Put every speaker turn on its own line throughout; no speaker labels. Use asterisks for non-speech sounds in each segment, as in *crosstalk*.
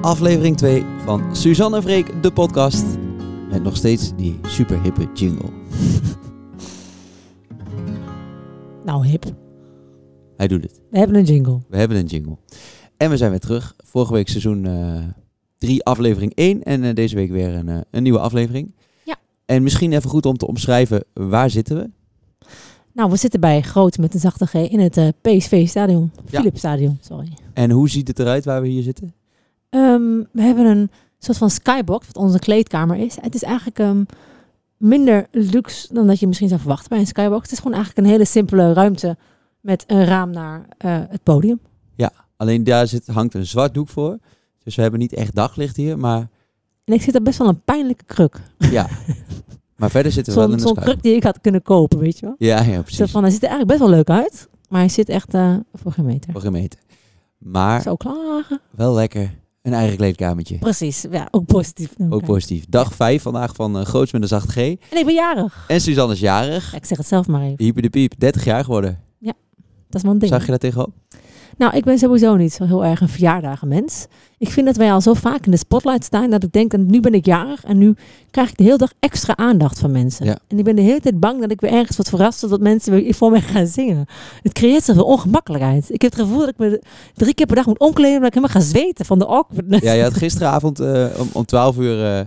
aflevering 2 van Suzanne en Freek, de podcast. Met nog steeds die super hippe jingle.
Nou, hip.
Hij doet het.
We hebben een jingle.
We hebben een jingle. En we zijn weer terug. Vorige week seizoen 3, aflevering 1. En eh, deze week weer een, eh, een nieuwe aflevering.
Ja.
En misschien even goed om te omschrijven, waar zitten we?
Nou, we zitten bij Groot met een zachte G in het eh, PSV Stadion. Philips Stadion, sorry.
En hoe ziet het eruit waar we hier zitten?
Ehm, we hebben een soort van skybox, wat onze kleedkamer is. Het is eigenlijk ehm, minder luxe dan dat je misschien zou verwachten bij een skybox. Het is gewoon eigenlijk een hele simpele ruimte met een raam naar eh, het podium.
Alleen daar zit, hangt een zwart doek voor. Dus we hebben niet echt daglicht hier, maar,
En ik zit er best wel een pijnlijke kruk.
maar verder zitten we wel
Zo'n
in de
zo'n
schuil.
kruk die ik had kunnen kopen, weet je wel.
Ja, ja,
Zo
precies.
van, hij ziet er eigenlijk best wel leuk uit, maar hij zit echt eh, voor geen meter.
Voor gemeten. Maar
Zo klagen.
Wel lekker. Een eigen kleedkamertje.
Precies, ja, ook positief.
Ook positief. Dag 5 vandaag van eh, Groots met een zacht G.
En ik ben jarig.
En Suzanne is jarig.
Ja, ik zeg het zelf maar even.
Hyper de piep, 30 jaar geworden.
Dat is mijn ding.
Zag je daar tegenop?
Nou, ik ben sowieso niet zo heel erg een verjaardagenmens. Ik vind dat wij al zo vaak in de spotlight staan dat ik denk, dat nu ben ik jarig en nu krijg ik de hele dag extra aandacht van mensen.
Ja.
En ik ben de hele tijd bang dat ik weer ergens wat verrast of dat mensen weer voor mij gaan zingen. Het creëert zoveel ongemakkelijkheid. Ik heb het gevoel dat ik me drie keer per dag moet omkleden omdat ik helemaal ga zweten van de awkwardness.
Ja, je had gisteravond eh, om, om 12 uur... eh,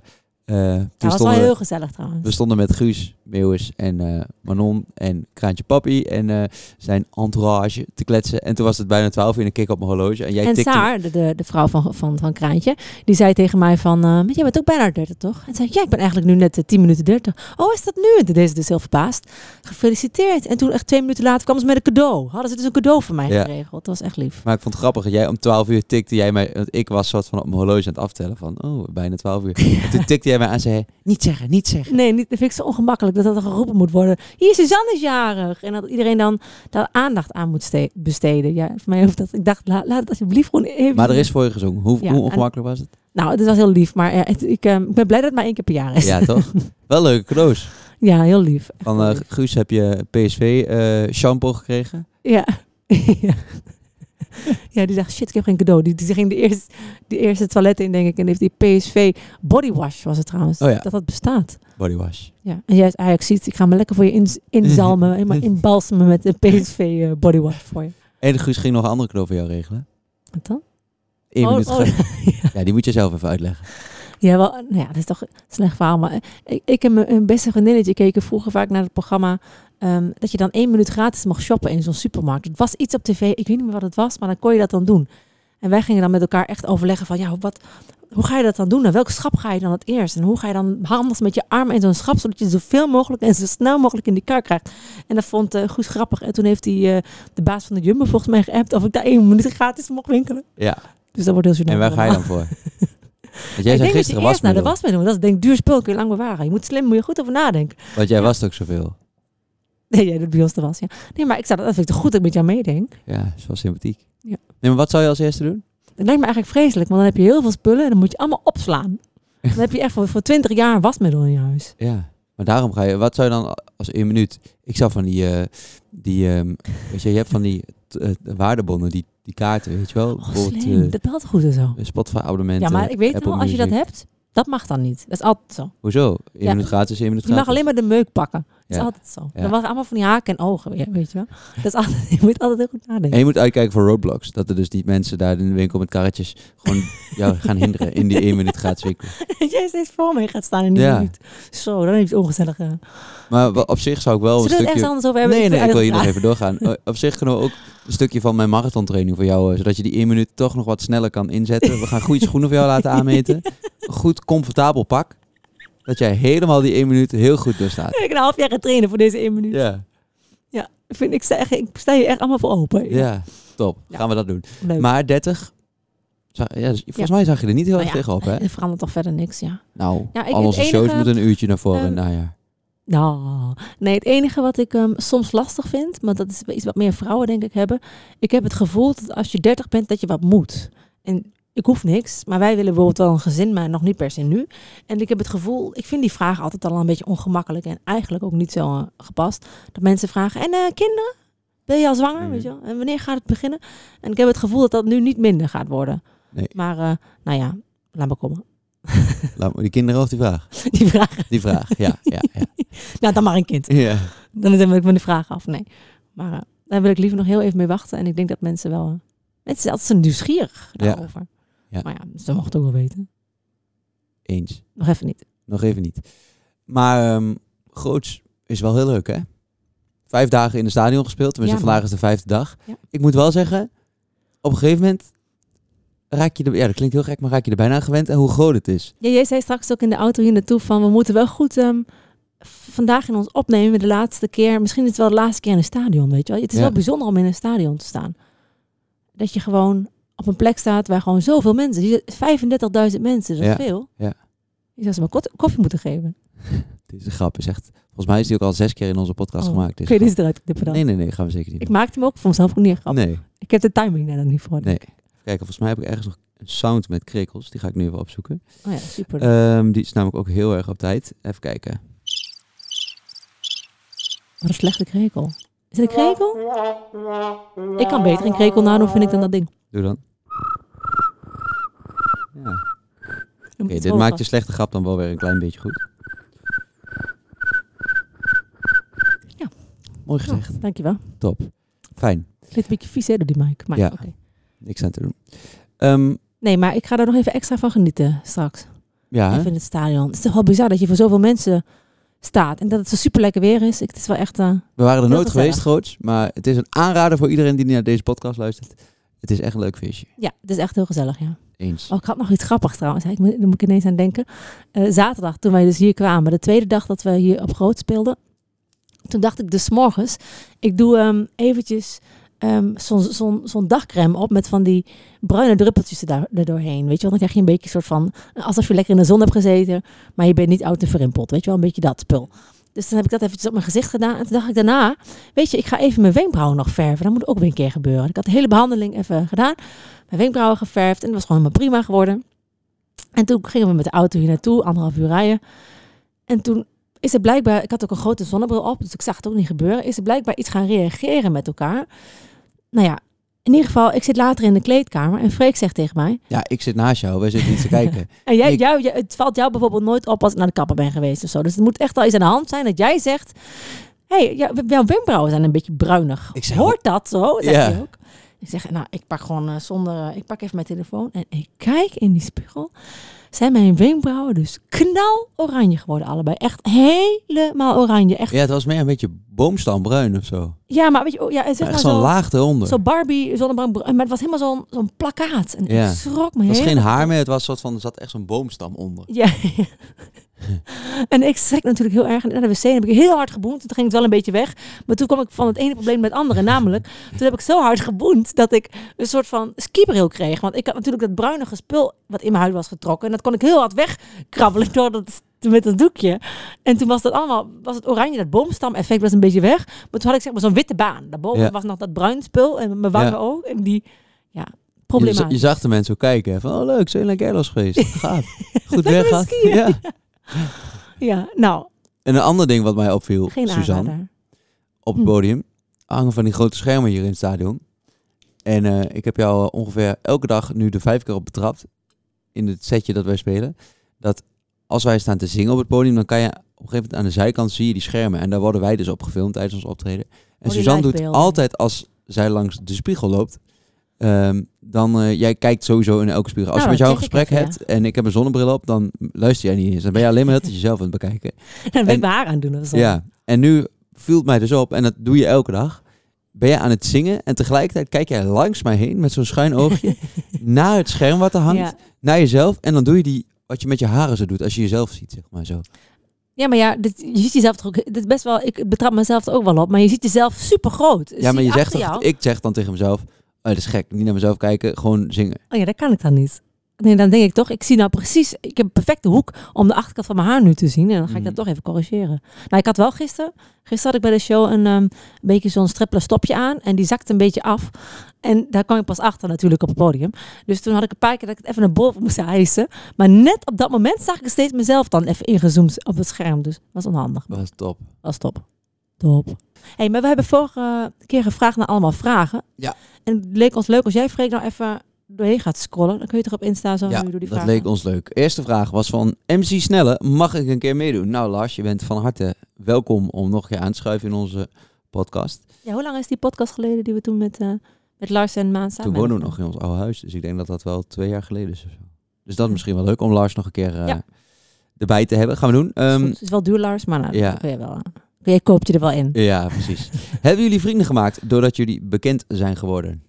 eh, toen
dat was wel
stonden,
heel
we-
gezellig trouwens.
we stonden met Guus, Meeuwis en eh, Manon en Kraantje Papi en eh, zijn entourage te kletsen. En toen was het bijna 12 uur en ik keek op mijn horloge. En jij
en
tikte...
Saar, de, de, de vrouw van, van, van Kraantje, die zei tegen mij van, eh, maar jij bent ook bijna 30 toch? En zei ik, ja, ik ben eigenlijk nu net eh, 10 minuten 30. Oh, is dat nu? En toen deed ze dus heel verbaasd. Gefeliciteerd. En toen echt twee minuten later kwamen ze met een cadeau. Hadden ze dus een cadeau voor mij
Ja.
geregeld. Dat was echt lief.
Maar ik vond het grappig. dat Jij om 12 uur tikte jij mij. Want ik was soort van op mijn horloge aan het aftellen. Van oh, bijna 12
*laughs*
uur. En toen tikte jij mij aan en zei: Niet zeggen, niet zeggen.
Nee, niet, dat vind ik zo ongemakkelijk dat dat er geroepen moet worden. Hier, Suzanne is jarig. En dat iedereen dan daar aandacht aan moet ste- besteden. Ja, voor mij hoeft dat. Ik dacht, la- laat het alsjeblieft gewoon even.
Maar er is voor je gezongen. Hoe, hoe
Ja, en-
ongemakkelijk was het?
Nou, het was heel lief. Maar eh, het- ik, eh, ik ben blij dat het maar één keer per jaar is. *laughs* Ja,
Ja, toch? Wel leuke cadeaus.
heel lief. Echt
Van
heel
eh,
lief.
Guus heb je PSV-shampoo eh, gekregen.
Ja. *laughs* ja. Ja, die dacht, shit, ik heb geen cadeau. Die, die ging de eerste, de eerste toilet in, denk ik. En heeft die PSV bodywash, was het trouwens.
Oh ja.
Dat dat bestaat.
Bodywash.
Ja. En juist Ajax ziet, ik ga me lekker voor je ins-
*laughs*
inzalmen. helemaal inbalsemen met een PSV eh, bodywash voor je.
En Guus ging nog een andere cadeau voor jou regelen.
Wat dan?
Eén
Oh,
minuut
oh.
gratis.
*laughs*
Ja, die moet je zelf even uitleggen.
Ja, wel, nou ja, dat is toch een slecht verhaal. Maar eh, ik, ik en mijn een beste vriendinnetje keken vroeger vaak naar het programma... ehm, dat je dan één minuut gratis mag shoppen in zo'n supermarkt. Het was iets op tv, ik weet niet meer wat het was, maar dan kon je dat dan doen. En wij gingen dan met elkaar echt overleggen van... Ja, wat, hoe ga je dat dan doen? Naar welk schap ga je dan het eerst? En hoe ga je dan handig met je arm in zo'n schap... zodat je zoveel mogelijk en zo snel mogelijk in die kar krijgt? En dat vond eh Guus grappig. En toen heeft hij eh, de baas van de Jumbo volgens mij geappt... of ik daar één minuut gratis mocht winkelen.
Ja.
Dus dat wordt heel gênant
En waar ga je dan
allemaal. *laughs*
voor? Want jij zei
ik denk dat je
gisteren
eerst naar de
wasmiddel.
wasmiddel moet. Dat is denk ik duur spul, kun je lang bewaren. Je moet slim, moet je goed over nadenken. *laughs*
Want jij was ook zoveel.
Nee, jij doet bij ons de was, ja. Nee, maar ik zou, dat dat vind ik toch goed dat ik met jou meedenk.
Ja, dat is wel sympathiek.
Ja.
Nee, maar wat zou je als eerste doen?
Dat lijkt me eigenlijk vreselijk, want dan heb je heel veel spullen en dan moet je allemaal
*laughs*
opslaan. Dan heb je echt voor, voor 20 jaar een wasmiddel in je huis.
Ja, maar daarom ga je. Wat zou je dan als één minuut? Ik zou van die, eh, die ehm, weet je, je hebt van die t- eh, waardebonnen, die, die kaarten, weet je wel?
Oh, slim.
eh,
dat belt goed en zo.
een Spotify abonnement.
Ja, maar
eh,
ik weet
Apple
wel, als je dat
Music.
hebt, dat mag dan niet. Dat is altijd zo.
Hoezo? Eén
Ja.
minuut gratis, één minuut
Je
gratis.
mag alleen maar de meuk pakken. Dat is
Ja.
altijd zo.
Ja.
Dan was allemaal van die haken en ogen weer, weet je wel. Dat is altijd, *laughs* je moet altijd heel goed
En
nadenken.
je moet uitkijken voor roadblocks. Dat er dus die mensen daar in de winkel met karretjes
*laughs*
gewoon jou gaan hinderen in die één minuut gratis winkel.
Dat *laughs* jij steeds voor mij gaat staan in die
Ja.
minuut. Zo, dan heb je het ongezellig. eh.
Maar wa- op zich zou ik wel een
Zullen we het ergens
Oh, stukje...
anders over hebben?
Nee, nee, ik wil hier nog
Ja.
even doorgaan. O- Op zich kunnen we ook een stukje van mijn marathontraining voor jou... eh, zodat je die één minuut toch nog wat sneller kan inzetten. We gaan goede schoenen voor jou laten
*laughs*
aanmeten. Een goed comfortabel pak. Dat jij helemaal die één minuut heel goed doorstaat.
*laughs* Ik heb een half jaar gaan trainen voor deze één minuut.
Ja,
Vind ik, zeg, ik sta hier echt allemaal voor open.
ja, top.
Ja.
Gaan we dat doen.
Leuk.
Maar 30... zag- Ja, dus volgens mij zag je er niet heel erg
Nou ja,
tegenop, hè?
Er verandert toch verder niks, ja.
Nou,
Ja, ik-
al
het
onze shows
enige- Ehm.
moeten een uurtje naar voren in het najaar.
Nou, nee, het enige wat ik ehm, soms lastig vind, maar dat is iets wat meer vrouwen denk ik hebben. Ik heb het gevoel dat als je 30 bent, dat je wat moet. En ik hoef niks, maar wij willen bijvoorbeeld wel een gezin, maar nog niet per se nu. En ik heb het gevoel, ik vind die vraag altijd al een beetje ongemakkelijk en eigenlijk ook niet zo eh, gepast. Dat mensen vragen, en eh, kinderen? Ben je al zwanger?
Mhm.
Weet je wel? En wanneer gaat het beginnen? En ik heb het gevoel dat dat nu niet minder gaat worden.
Nee.
Maar eh, nou ja, Laat maar komen. *laughs*
Laat maar, die kinderen of die vraag?
Die vragen.
Die vraag,
*laughs*
ja. ja, ja.
Nou, dan maar een kind.
ja.
Dan neem ik me de vraag af. Nee. Maar eh, daar wil ik liever nog heel even mee wachten. En ik denk dat mensen wel... eh, mensen zijn altijd zo nieuwsgierig
Ja.
daarover.
Ja.
Maar ja, ze mogen het ook wel weten.
Eens.
Nog even niet.
Nog even niet. Maar ehm groots is wel heel leuk, hè? Vijf dagen in het stadion gespeeld. Tenminste,
Ja,
vandaag
man.
is de vijfde dag.
Ja.
Ik moet wel zeggen, op een gegeven moment raak je er... Ja, dat klinkt heel gek, maar raak je er bijna aan gewend en hoe groot het is.
Ja, jij zei straks ook in de auto hier naartoe van... We moeten wel goed ehm, v- vandaag in ons opnemen. De laatste keer. Misschien is het wel de laatste keer in een stadion, weet je wel. Het is
Ja.
wel bijzonder om in een stadion te staan. Dat je gewoon op een plek staat waar gewoon zoveel mensen... hier- 35.000 mensen, dat is
Ja.
veel.
Ja.
Je zou ze maar kot- koffie moeten geven.
Dit is een grap, is echt... Volgens mij is die ook al zes keer in onze podcast
Oh,
gemaakt.
Kun je
grap.
deze eruit knippen dan?
Nee, nee, nee, gaan we zeker niet
Ik maakte hem ook voor mezelf ook niet echt
doen.
grap.
Nee,
Ik heb de timing daar dan niet voor.
nee. Kijk, volgens mij heb ik ergens nog een sound met krikkels. Die ga ik nu even opzoeken.
Oh ja, super.
Ehm, die is namelijk ook heel erg op tijd. Even kijken.
Wat een slechte krekel. Is het een krekel? Ik kan beter een krekel nadoen, vind ik, dan dat ding.
Doe dan. Ja.
Oké,
Oké, dit maakt dus je slechte grap dan wel weer een klein beetje goed.
Ja.
Mooi gezegd.
Ah, Dankjewel.
Top. Fijn.
Het ligt een beetje vies, hè, door die mic. Maar,
Ja.
oké.
Niks aan te doen. Ehm,
Nee, maar ik ga daar nog even extra van genieten straks.
ja, hè?
Even in het stadion. Het is toch wel bizar dat je voor zoveel mensen staat. En dat het zo super lekker weer is. Ik, het is wel echt... eh,
we waren er
heel
nooit
gezellig.
geweest, groots. Maar het is een aanrader voor iedereen die naar deze podcast luistert. Het is echt een leuk feestje.
ja, het is echt heel gezellig, ja.
Eens.
Oh, ik had nog iets grappigs trouwens. Ik moet, daar moet ik ineens aan denken. Eh, zaterdag, toen wij dus hier kwamen, de tweede dag dat we hier op groot speelden. Toen dacht ik dus 's morgens, ik doe ehm, eventjes ehm, zo'n zo'n- zo'n dagcreme op met van die bruine druppeltjes er, daar- er doorheen. Weet je wel, dan krijg je een beetje een soort van, alsof je lekker in de zon hebt gezeten, maar je bent niet oud en verrimpeld. Weet je wel, een beetje dat spul. Dus dan heb ik dat eventjes op mijn gezicht gedaan. En toen dacht ik daarna, weet je, ik ga even mijn wenkbrauwen nog verven. Dat moet ook weer een keer gebeuren. Ik had de hele behandeling even gedaan mijn wenkbrauwen geverfd. En dat was gewoon helemaal prima geworden. En toen gingen we met de auto hier naartoe, anderhalf uur rijden. En toen is er blijkbaar, ik had ook een grote zonnebril op, dus ik zag het ook niet gebeuren. Is er blijkbaar iets gaan reageren met elkaar. Nou ja, in ieder geval, ik zit later in de kleedkamer en Freek zegt tegen mij.
Ja, ik zit naast jou. Wij zitten niet
*laughs*
te kijken.
En jij,
Ik-
jou, jij- het valt jou bijvoorbeeld nooit op als ik naar de kapper ben geweest of zo. Dus het moet echt al iets aan de hand zijn dat jij zegt. Hé, hey, jou- jouw wenkbrauwen zijn een beetje bruinig.
Ik zeg-
Hoort dat zo? Zegt
Ja.
hij ook. Ik zeg, nou, ik pak gewoon eh, zonder... eh, ik pak even mijn telefoon en ik kijk in die spiegel. Zijn mijn wenkbrauwen dus knal oranje geworden allebei. Echt helemaal oranje. Echt,
Ja, het was meer een beetje boomstambruin of zo.
ja, maar weet je... oh, Ja, zeg
Echt
maar
zo'n
zo,
laag eronder.
zo Barbie, zonnebrand... Maar het was helemaal zo'n zo'n plakkaat. En
Ja.
ik schrok me
Het was
helemaal.
geen haar meer. Het was soort van, er zat echt zo'n boomstam onder.
Ja. *laughs* en ik schrik natuurlijk heel erg. En Naar de wc heb ik heel hard geboend. Toen ging het wel een beetje weg. Maar toen kwam ik van het ene probleem met het andere. Namelijk, toen heb ik zo hard geboend dat ik een soort van skibril kreeg. Want ik had natuurlijk dat bruinige spul wat in mijn huid was getrokken. En dat kon ik heel hard wegkrabbelen door dat, met dat doekje. En toen was dat allemaal, was het oranje, dat boomstam-effect was een beetje weg. Maar toen had ik zeg maar zo'n witte baan. Daarboven
Ja.
was nog dat bruin spul en mijn wangen
Ja.
ook. En die,
Je,
ja,
za-
problematisch.
je zag de mensen ook kijken. hè, Van, oh leuk, zijn jullie naar Gerlos
*laughs*
geweest? Gaaf. Goed
Lekker
weg gehad.
skiën.
Ja.
Ja, nou,
En een ander ding wat mij opviel,
geen
Oh, Suzanne,
aanrader. *laughs*
op het
Hm.
podium. Hangen van die grote schermen hier in het stadion. En eh, ik heb jou eh, ongeveer elke dag nu de vijf keer op betrapt. In het setje dat wij spelen. Dat als wij staan te zingen op het podium, dan kan je op een gegeven moment aan de zijkant zie je die schermen. En daar worden wij dus op gefilmd tijdens ons optreden. En
die
Suzanne doet
livebeelden.
altijd als zij langs de spiegel loopt. ehm, dan, eh, jij kijkt sowieso in elke spiegel. Als
Nou,
je met jou een
dat check ik
gesprek
even,
hebt en ik heb een zonnebril op, dan luister jij niet eens. Dan ben je alleen maar
*laughs*
heel jezelf aan het bekijken.
Dan ben
En-
ik mijn haar aan het doen. of zo.
Ja, en nu viel het mij dus op, en dat doe je elke dag. Ben je aan het zingen en tegelijkertijd kijk jij langs mij heen met zo'n schuin oogje
*laughs*
naar het scherm wat er hangt,
Ja.
naar jezelf. En dan doe je die wat je met je haren zo doet als je jezelf ziet, zeg maar zo.
Ja, maar ja, dit, je ziet jezelf toch ook. Dit is best wel, ik betrap mezelf er ook wel op, maar je ziet jezelf super groot.
ja, maar je zegt toch,
jou.
ik zeg dan tegen mezelf, oh, dat is gek, niet naar mezelf kijken, gewoon zingen.
Oh ja, dat kan ik dan niet. Nee, dan denk ik toch, ik zie nou precies, ik heb een perfecte hoek om de achterkant van mijn haar nu te zien. En dan ga ik dat
Mhm.
toch even corrigeren. Nou, ik had wel gisteren, gisteren had ik bij de show een ehm, beetje zo'n strippelen stopje aan. En die zakte een beetje af. En daar kwam ik pas achter natuurlijk op het podium. Dus toen had ik een paar keer dat ik het even naar boven moest hijsen. Maar net op dat moment zag ik steeds mezelf dan even ingezoomd op het scherm. Dus dat was onhandig.
Dat was top.
Dat is top. Top. hey, maar we hebben vorige keer gevraagd naar allemaal vragen.
Ja.
En het leek ons leuk als jij, Freek, nou even doorheen gaat scrollen, dan kun je toch op Insta zo
ja,
nu door die
dat
vragen.
leek ons leuk. Eerste vraag was van MC Snelle. Mag ik een keer meedoen? Nou Lars, je bent van harte welkom om nog een keer aan te schuiven in onze podcast.
Ja, hoe lang is die podcast geleden die we toen met, eh, met Lars en Maan samen
Toen woonden we
hebben
nog in ons oude huis, dus ik denk dat dat wel twee jaar geleden is. Of zo. Dus dat is misschien wel leuk om Lars nog een keer eh,
Ja.
erbij te hebben. Gaan we doen.
gedaan? Is
Ehm,
goed. Het is wel duur, Lars, maar nou,
ja.
dat kun je wel. eh, kun je koopt je er wel in.
ja,
*laughs*
precies. hebben jullie vrienden gemaakt doordat jullie bekend zijn geworden?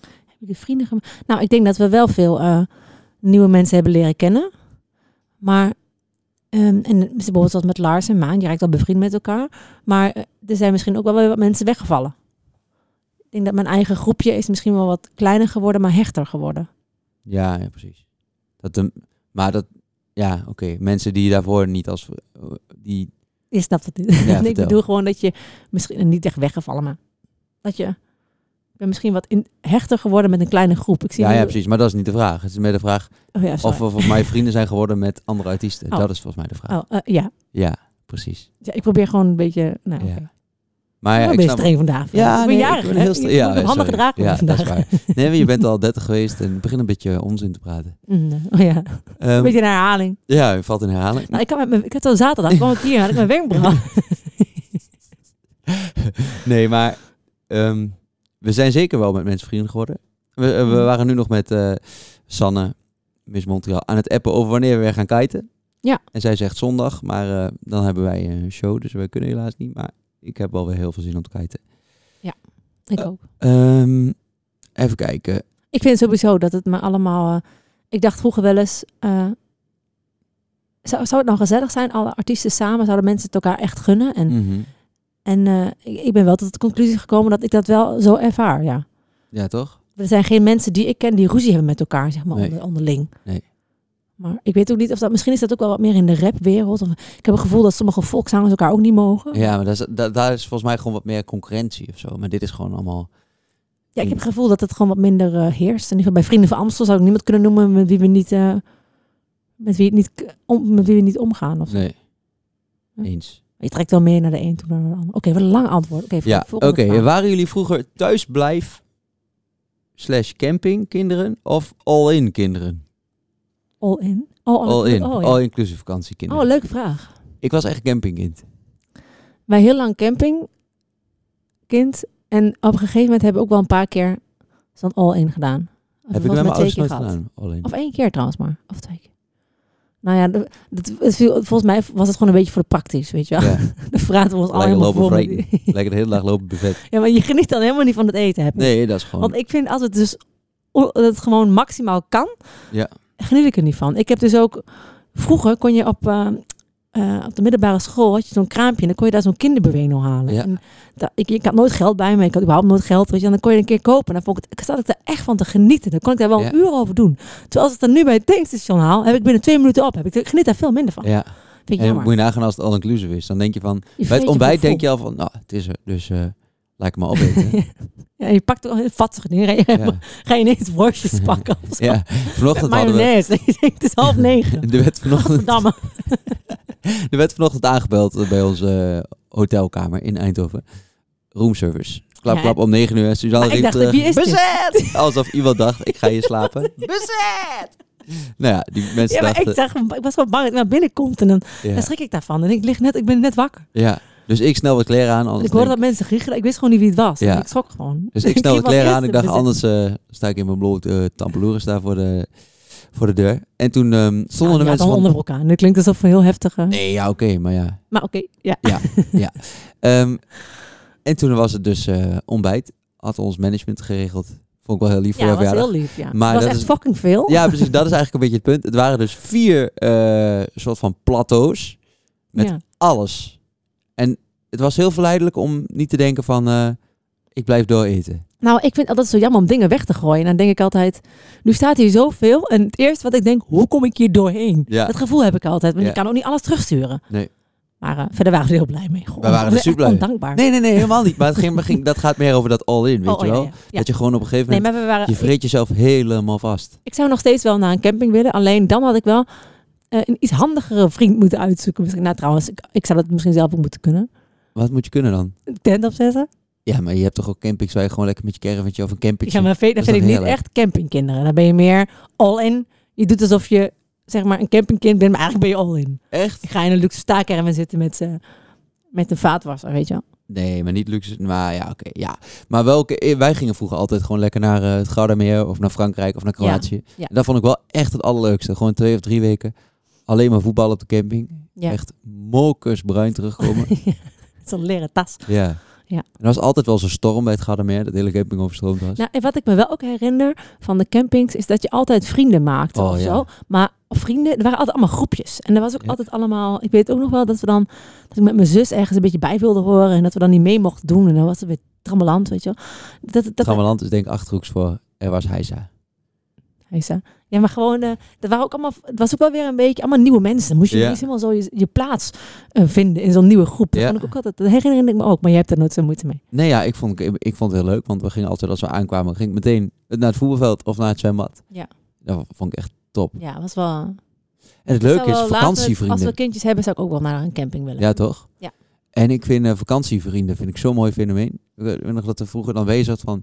Hebben jullie vrienden gemaakt? Nou, ik denk dat we wel veel eh, nieuwe mensen hebben leren kennen. Maar, ehm, en bijvoorbeeld zoals met Lars en Maan, je raakt al bevriend met elkaar. Maar eh, er zijn misschien ook wel weer wat mensen weggevallen. Ik denk dat mijn eigen groepje is misschien wel wat kleiner geworden, maar hechter geworden.
Ja, ja precies. Dat de, maar dat, ja, oké. Mensen die je daarvoor niet als, eh, die
Je snapt het niet. Nee, *laughs* ik
vertel.
bedoel gewoon dat je misschien en niet echt weggevallen, maar dat je ik ben misschien wat in, hechter geworden met een kleine groep. Ik zie
Ja,
nu-
ja, precies. Maar dat is niet de vraag. Het is meer de vraag
Oh ja,
of
sorry.
we volgens mij vrienden zijn geworden met andere artiesten.
Oh.
Dat is volgens mij de vraag.
Oh, eh, ja.
Ja, precies.
ja, ik probeer gewoon een beetje. Nou,
Ja.
oké.
Maar Ah ja,
ik
ik
ben
snap...
streng vandaag.
Ja, nee,
ik ben
ik
jarig,
ben
hè?
heel stre-
Je
ja,
moet op handig
sorry.
gedragen
Ja, dat
vandaag.
is Nee, maar je bent al 30 geweest en begint een beetje onzin te praten.
Mm, oh ja,
Ehm,
een beetje een herhaling.
Ja, je valt in herhaling.
Nou, ik, had met mijn, ik had al
*laughs*
zaterdag, kwam ik hier, had ik mijn wenkbrauw.
*laughs* Nee, maar ehm, we zijn zeker wel met mensen vrienden geworden. We, eh, we
Mm.
waren nu nog met eh, Sanne, Miss Montreal, aan het appen over wanneer we weer gaan kiten.
Ja.
En zij zegt zondag, maar eh, dan hebben wij eh, een show, dus wij kunnen helaas niet. Maar ik heb wel weer heel veel zin om te kiten.
ik ook.
Ehm, even kijken.
Ik vind sowieso dat het me allemaal. eh, ik dacht vroeger wel eens. eh, zou, zou het nou gezellig zijn? Alle artiesten samen zouden mensen het elkaar echt gunnen. En,
Mhm.
en eh, ik, ik ben wel tot de conclusie gekomen dat ik dat wel zo ervaar. Ja.
Ja, toch?
Er zijn geen mensen die ik ken die ruzie hebben met elkaar, zeg maar,
Nee.
onder, onderling.
Nee.
Maar ik weet ook niet of dat. Misschien is dat ook wel wat meer in de rapwereld. Of, ik heb het gevoel dat sommige volkszangers elkaar ook niet mogen.
Ja, maar daar is, da- daar is volgens mij gewoon wat meer concurrentie of zo. Maar dit is gewoon allemaal...
Ja, ik heb het gevoel dat het gewoon wat minder eh, heerst. En ik bij Vrienden van Amstel zou ik niemand kunnen noemen met wie we niet, eh, met wie het niet, k- om, met wie we niet omgaan. Of zo.
Nee.
Hm.
Eens.
Je trekt wel meer naar de een toe naar de ander. Oké, wat een lang antwoord. Oké,
Ja, oké.
volgende vraag.
Waren jullie vroeger thuisblijf slash camping kinderen of all-in kinderen?
All in. Oh,
All-in.
Oh, ja.
All-inclusive vakantiekinderen.
Oh, leuke vraag.
Ik was echt campingkind.
Wij heel lang camping, kind. En op een gegeven moment hebben we ook wel een paar keer zo'n all in gedaan.
Heb
Of was
ik met mijn
maar twee
ouders
keer
nooit
gehad.
gedaan. All-in.
Of één keer trouwens maar. Of twee keer. Nou ja, dat, dat- het viel, volgens mij was het gewoon een beetje voor de praktisch, weet je *laughs* wel.
Ja,
Dan praten we ons
Lekker
allemaal
lopen
voor. met
vreten.
die-
lekker de hele dag lopen buffet.
*laughs* Ja, maar je geniet dan helemaal niet van het eten, heb je?
Nee, dat is
Want
gewoon...
ik vind als het dus o- dat het gewoon maximaal kan,
Ja.
geniet ik er niet van. Ik heb dus ook vroeger kon je op, eh, eh, op de middelbare school had je zo'n kraampje en dan kon je daar zo'n kinderbeweeno halen.
Ja.
En da- ik, ik had nooit geld bij me, ik had überhaupt nooit geld, weet je, en dan kon je een keer kopen. En dan vond ik, het- ik zat ik er echt van te genieten. Dan kon ik daar wel
Ja.
een uur over doen. Terwijl als ik het dan nu bij het tankstation haal, heb ik binnen twee minuten op. Heb ik, ik geniet daar veel minder van.
Ja,
Vind ik
en
jammer.
moet je nagaan als het all-inclusive is. Dan denk je van...
Je
Bij
vreet
het
je
ontbijt
gevoel.
denk je al van... Nou, het is er. Dus eh laat ik het maar opeten.
*laughs* Ja, je pakt ook een vatsige dingen. en je-
ja.
*laughs* Ga je ineens worstjes pakken of zo. *laughs*
ja, vanochtend hadden we...
Mayonaise. Ik denk, *laughs* het is half
*laughs*
negen.
Er werd vanochtend *laughs*
Verdamme.
Er werd vanochtend aangebeld bij onze eh, hotelkamer in Eindhoven. Roomservice. Klap,
Ja.
klap, om 9 uur. En Suzanne
Maar ik
riep
dacht,
terug,
wie is dit? *laughs*
Bezet! Alsof iemand dacht, ik ga hier slapen.
Bezet!
nou ja, die mensen
Ja, maar
dachten...
ik dacht, ik was wel bang dat het naar binnen komt en dan, dan
ja,
schrik ik daarvan. En ik lig net, ik ben net wakker.
ja. dus ik snel wat kleren aan. Anders
ik hoorde
denk-
dat mensen giechelen. Ik wist gewoon niet wie het was.
Ja.
Ik schrok gewoon.
Dus
*laughs*
ik snel
was
wat kleren aan.
eerst
Ik dacht,
bezet.
anders eh, sta ik in mijn bloot eh tampeloeren staan voor de, voor de deur. En toen ehm, stonden de
Ja, dan
mensen van...
onderbroek aan. Dat klinkt alsof we heel heftige...
Nee, ja, oké, maar ja.
Maar oké, *laughs* ja.
Ehm, en toen was het dus eh, ontbijt. Had ons management geregeld. Vond ik wel heel lief
Ja,
voor jouw
dat was
verjaardag.
heel lief. Ja.
Maar
Maar was
dat
echt
is-
fucking veel.
Ja, precies. Dat is eigenlijk een beetje het punt. Het waren dus vier eh, soort van plateaus. met-
Ja.
Alles. En het was heel verleidelijk om niet te denken van... eh, ik blijf door eten.
Nou, ik vind altijd zo jammer om dingen weg te gooien. En dan denk ik altijd, nu staat hier zoveel. En het eerste wat ik denk, hoe kom ik hier doorheen?
Ja.
Dat gevoel heb ik altijd. Want
Ja.
je kan ook niet alles terugsturen.
Nee.
Maar eh, verder waren we er heel blij mee. Goh,
We waren er
ik ben
super blij mee.
echt ondankbaar.
Nee, nee, nee, helemaal niet. Maar het ging, maar ging- dat gaat meer over dat all-in, weet
Oh, oh,
je
ja,
wel?
ja, ja.
Dat je gewoon op een gegeven
Nee,
moment...
maar eh, we waren,
Je vreet jezelf helemaal vast.
Ik zou nog steeds wel naar een camping willen. Alleen dan had ik wel eh, een iets handigere vriend moeten uitzoeken. Misschien, nou trouwens, ik, ik zou dat misschien zelf ook moeten kunnen.
Wat moet je kunnen dan?
Een tent opzetten.
Ja, maar je hebt toch ook campings waar je gewoon lekker met je caravantje of een camping
Ja, maar vind, dat
Dat is
vind ik
dan
niet
heerlijk.
echt campingkinderen. Dan ben je meer all-in. Je doet alsof je zeg maar een campingkind bent, maar eigenlijk ben je all-in.
Echt?
Ik ga in een luxe staakerven zitten met, eh, met een vaatwasser, weet je wel.
Nee, maar niet luxe. Maar ja, oké. ja. Maar welke, eh, wij gingen vroeger altijd gewoon lekker naar eh, het Gouda Meer of naar Frankrijk of naar
Ja,
Kroatië.
ja.
En Dat vond ik wel echt het allerleukste. Gewoon twee of drie weken alleen maar voetbal op de camping.
Ja.
Echt mokersbruin
*laughs*
terugkomen.
Zo'n leren tas.
ja.
Ja.
En er was altijd wel zo'n storm bij het Gouda Meer, dat de hele camping overstroomd was.
Nou, en wat ik me wel ook herinner van de campings, is dat je altijd vrienden maakte
Oh,
of
ja.
zo. Maar vrienden, er waren altijd allemaal groepjes. En er was ook
Ja.
altijd allemaal, ik weet ook nog wel dat we dan, dat ik met mijn zus ergens een beetje bij wilde horen en dat we dan niet mee mochten doen. En dan was het weer trammeland, weet je wel. Dat, dat,
Gammeland is denk ik Achterhoeks voor Er was Heisa.
Hij zei, Ja, maar gewoon, eh er waren ook allemaal, het was ook wel weer een beetje allemaal nieuwe mensen. Dan Moest je
Ja.
ineens helemaal zo je, je plaats eh, vinden in zo'n nieuwe groep. Dat
Ja.
vond ik ook altijd, dat herinner ik me ook, maar jij hebt er nooit zo moeite mee.
Nee, ja, ik vond, ik, ik vond het heel leuk, want we gingen altijd als we aankwamen, ging ik meteen naar het voetbalveld of naar het zwembad.
Ja.
Dat vond ik echt top.
Ja, was wel...
En het
Ik zou
leuke is
wel later, als
vakantievrienden.
we kindjes hebben, zou ik ook wel naar een camping willen.
Ja, toch?
Ja.
En ik vind eh, vakantievrienden vind ik zo'n mooi fenomeen. Ik weet nog dat er vroeger dan wees had van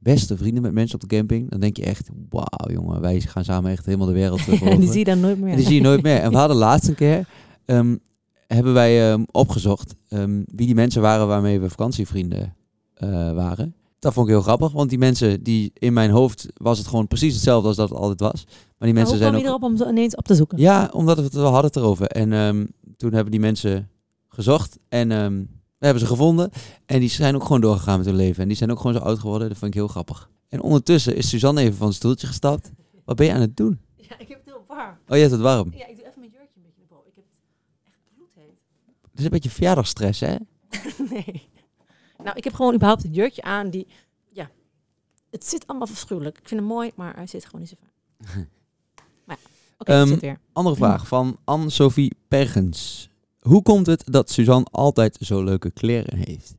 beste vrienden met mensen op de camping. Dan denk je echt, wauw jongen, wij gaan samen echt helemaal de
*laughs*
wereld eh,
*laughs* en
veroveren.
die zie je dan nooit meer.
En die zie je nooit meer. En we hadden laatst een keer, ehm, hebben wij ehm, opgezocht ehm, wie die mensen waren waarmee we vakantievrienden eh, waren. Dat vond ik heel grappig, want die mensen die in mijn hoofd was het gewoon precies hetzelfde als dat het altijd was. Maar die
Maar
mensen
hoe
zijn
kwam
ook
je erop om zo ineens op te zoeken?
ja, omdat we het wel hadden het erover. En ehm, toen hebben die mensen gezocht en ehm, we hebben ze gevonden. En die zijn ook gewoon doorgegaan met hun leven. En die zijn ook gewoon zo oud geworden. Dat vond ik heel grappig. En ondertussen is Suzanne even van het stoeltje gestapt. Wat ben je aan het doen?
ik heb het heel warm.
Oh, je hebt het warm.
Ja, ik doe even mijn jurkje een beetje naar boven. Ik heb het echt bloedheet.
Het is een beetje verjaardagstress, hè?
*laughs* Nee. Nou, ik heb gewoon überhaupt een jurkje aan die... Ja, het zit allemaal verschuwelijk. Ik vind hem mooi, maar hij zit gewoon niet zo vaak.
*laughs*
maar ja, oké, het
Ehm,
zit weer.
Andere vraag van Anne-Sophie Pergens. Hoe komt het dat Suzanne altijd zo leuke kleren heeft?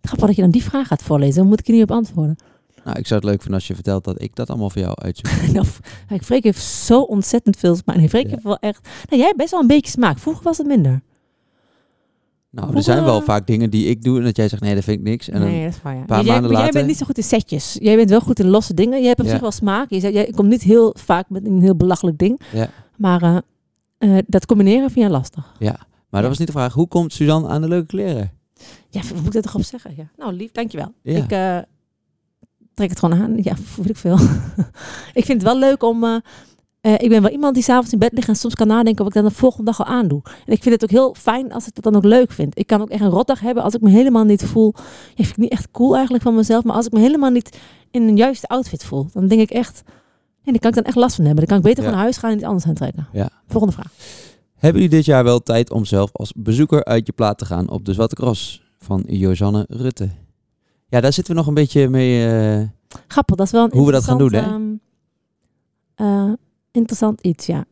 Grappig dat je dan die vraag gaat voorlezen. Dan moet ik er niet op antwoorden. *laughs*
Nou, ik zou het leuk vinden als je vertelt dat ik dat allemaal voor jou uitzoek.
nou, ik Freek heeft zo ontzettend veel smaak. Nee, Freek
Ja.
heeft wel echt... Nou, jij hebt best wel een beetje smaak. Vroeger was het minder.
Nou, er zijn wel
Hoera.
vaak dingen die ik doe en dat jij zegt, nee, dat vind ik niks. En dan
nee, dat is waar, ja.
paar
Maar jij,
maanden
maar jij
later-
bent niet zo goed in setjes. Jij bent wel goed in losse dingen. Jij hebt op
Ja.
zich wel smaak. Je, zegt- jij komt niet heel vaak met een heel belachelijk ding.
Ja.
Maar eh, eh, dat combineren vind jij lastig.
Maar dat was niet de vraag. Hoe komt Suzanne aan de leuke kleren?
Ja, wat moet ik daar toch op zeggen? Ja. Nou, lief, dankjewel.
Ja.
Ik eh, trek het gewoon aan. Ja, *laughs* voel ik veel. ik vind het wel leuk om... eh, eh, ik ben wel iemand die s'avonds in bed ligt en soms kan nadenken of ik dat de volgende dag al aandoe. En ik vind het ook heel fijn als ik dat dan ook leuk vind. Ik kan ook echt een rotdag hebben als ik me helemaal niet voel. Ja, vind ik niet echt cool eigenlijk van mezelf. Maar als ik me helemaal niet in een juiste outfit voel, dan denk ik echt... En daar kan ik dan echt last van hebben. Dan kan ik beter
Ja.
van naar huis gaan en iets anders aantrekken.
Ja.
Volgende vraag.
Hebben jullie dit jaar wel tijd om zelf als bezoeker uit je plaat te gaan op de Zwarte Cross van Josanne Rutte? Ja, daar zitten we nog een beetje mee. eh,
Grappig, dat is wel een
Hoe we dat gaan doen, hè?
interessant, ehm, eh, interessant iets, ja.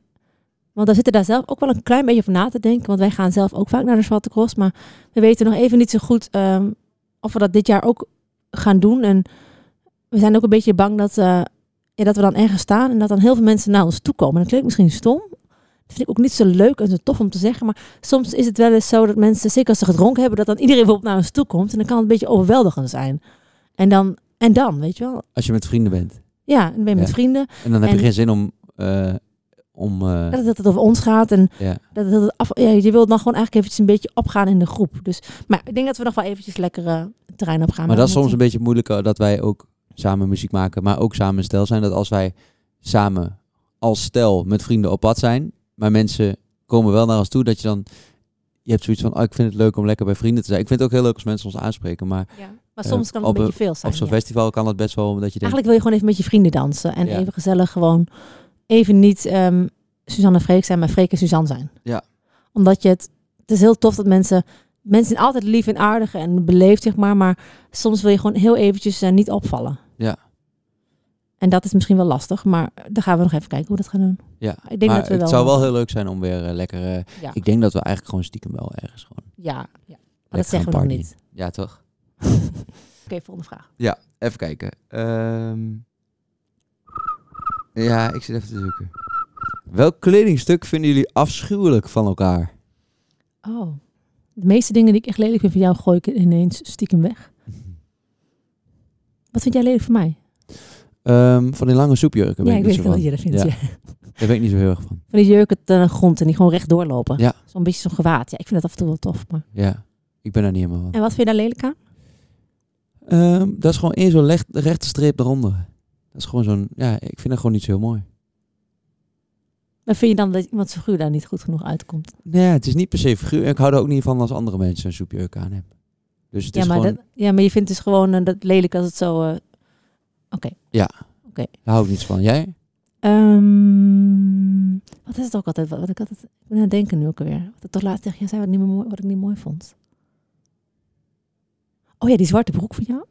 Want we zitten daar zelf ook wel een klein beetje over na te denken. Want wij gaan zelf ook vaak naar de Zwarte Cross. Maar we weten nog even niet zo goed ehm, of we dat dit jaar ook gaan doen. En we zijn ook een beetje bang dat, eh, ja, dat we dan ergens staan. En dat dan heel veel mensen naar ons toe komen. En dat klinkt misschien stom. Dat vind ik ook niet zo leuk en zo tof om te zeggen. Maar soms is het wel eens zo dat mensen, zeker als ze gedronken hebben, dat dan iedereen bijvoorbeeld naar ons toe komt. En dan kan het een beetje overweldigend zijn. En dan, en dan weet je wel.
als je met vrienden bent.
Ja, dan ben je met
Ja.
vrienden.
En dan heb je
En-
geen zin om. eh, om eh,
Dat, dat het over ons gaat. En
ja.
dat, dat het af, ja, je wilt dan gewoon eigenlijk eventjes een beetje opgaan in de groep. Dus, maar ik denk dat we nog wel eventjes lekker eh, het terrein op gaan.
Maar dat is
we
soms een
moeten-
beetje moeilijker dat wij ook samen muziek maken, maar ook samen een stijl zijn. Dat als wij samen als stijl met vrienden op pad zijn, maar mensen komen wel naar ons toe, dat je dan. Je hebt zoiets van, oh, ik vind het leuk om lekker bij vrienden te zijn. Ik vind het ook heel leuk als mensen ons aanspreken, maar
Ja. Maar
eh,
soms kan het
op
een beetje veel zijn.
Op zo'n
ja.
festival kan dat best wel, omdat je denkt...
Eigenlijk wil je gewoon even met je vrienden dansen. En
Ja.
even gezellig gewoon even niet ehm, Suzanne en Freek zijn, maar Freek en Suzanne zijn.
Ja.
Omdat je het... Het is heel tof dat mensen... Mensen zijn altijd lief en aardig en beleefd, zeg maar. Maar soms wil je gewoon heel eventjes eh, niet opvallen.
Ja.
En dat is misschien wel lastig. Maar daar gaan we nog even kijken hoe we dat gaan doen.
ja.
Ik denk
maar
dat we
het
wel-
zou wel heel leuk zijn om weer eh, lekker... eh,
Ja.
Ik denk dat we eigenlijk gewoon stiekem wel ergens gewoon...
Ja, ja. maar dat
Lekker
zeggen we nog
gaan
niet.
Ja, toch?
Oké, volgende vraag.
Even kijken. Ehm, Ja, ik zit even te zoeken. *laughs* Welk kledingstuk vinden jullie afschuwelijk van elkaar?
Oh, De meeste dingen die ik echt lelijk vind van jou, gooi ik ineens stiekem weg. Wat vind jij lelijk van mij?
Ehm, van die lange soepjurken
ja,
ben
ik
ik
weet
niet zo
wel
van.
dat je dat vindt.
Ja.
ja.
Daar ben ik niet zo heel erg van.
Van die jurken aan de grond en die gewoon recht doorlopen.
Ja.
Zo'n beetje zo'n gewaad. Ja, ik vind dat af en toe wel tof. Maar...
Ja, ik ben daar niet helemaal van.
En wat vind je daar lelijk aan?
Ehm, dat is gewoon één zo'n leg- rechte streep eronder. Dat is gewoon zo'n... Ja, ik vind dat gewoon niet zo heel mooi.
Dan vind je dan dat iemand zijn figuur daar niet goed genoeg uitkomt.
Nee, het is niet per se figuur. En Ik hou er ook niet van als andere mensen een soepjurk aan hebben. Dus het
Ja
is
maar,
gewoon...
dat, ja, maar je vindt dus gewoon eh, dat lelijk als het zo... eh,
Daar hou ik niets van. Jij?
Ehm, wat is het ook altijd? Wat, wat ik altijd ik ben aan het denken nu ook alweer. Wat ik toch laatst tegen je zei wat ik, niet meer mooi, wat ik niet mooi vond. Oh ja, die zwarte broek van jou.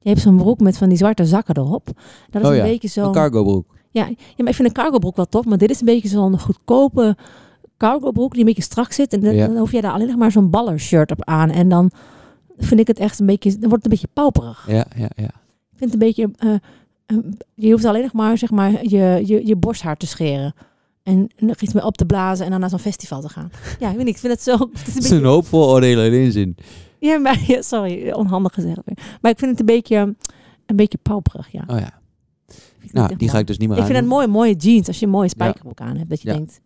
Je hebt zo'n broek met van die zwarte zakken erop. Dat is
Oh
een
ja,
beetje zo.
Een cargo broek.
ja, ja, maar ik vind een cargo broek wel tof. Maar dit is een beetje zo'n goedkope cargo broek die een beetje strak zit. En dan,
Ja.
dan hoef je daar alleen nog maar zo'n baller shirt op aan. En dan vind ik het echt een beetje, dan wordt het een beetje pauperig.
Ja, ja, ja.
Ik vind het een beetje. eh, eh, je hoeft alleen nog maar, zeg maar je, je, je borsthaar te scheren. En nog iets mee op te blazen en dan naar zo'n festival te
*laughs*
gaan. Ja, ik weet niet. Ik vind het zo. Het
Het
is een
is
beetje,
een hoop vooroordelen in één zin.
ja, maar, ja, sorry, onhandig gezegd. weer. Maar ik vind het een beetje. Een beetje pauperig, ja.
Oh ja.
Ik vind het
Nou,
echt
die ga
mooi.
ik dus niet meer
Ik
aan.
vind het mooi, mooie jeans. Als je een mooie spijkerbroek aan hebt, dat je
Ja.
denkt.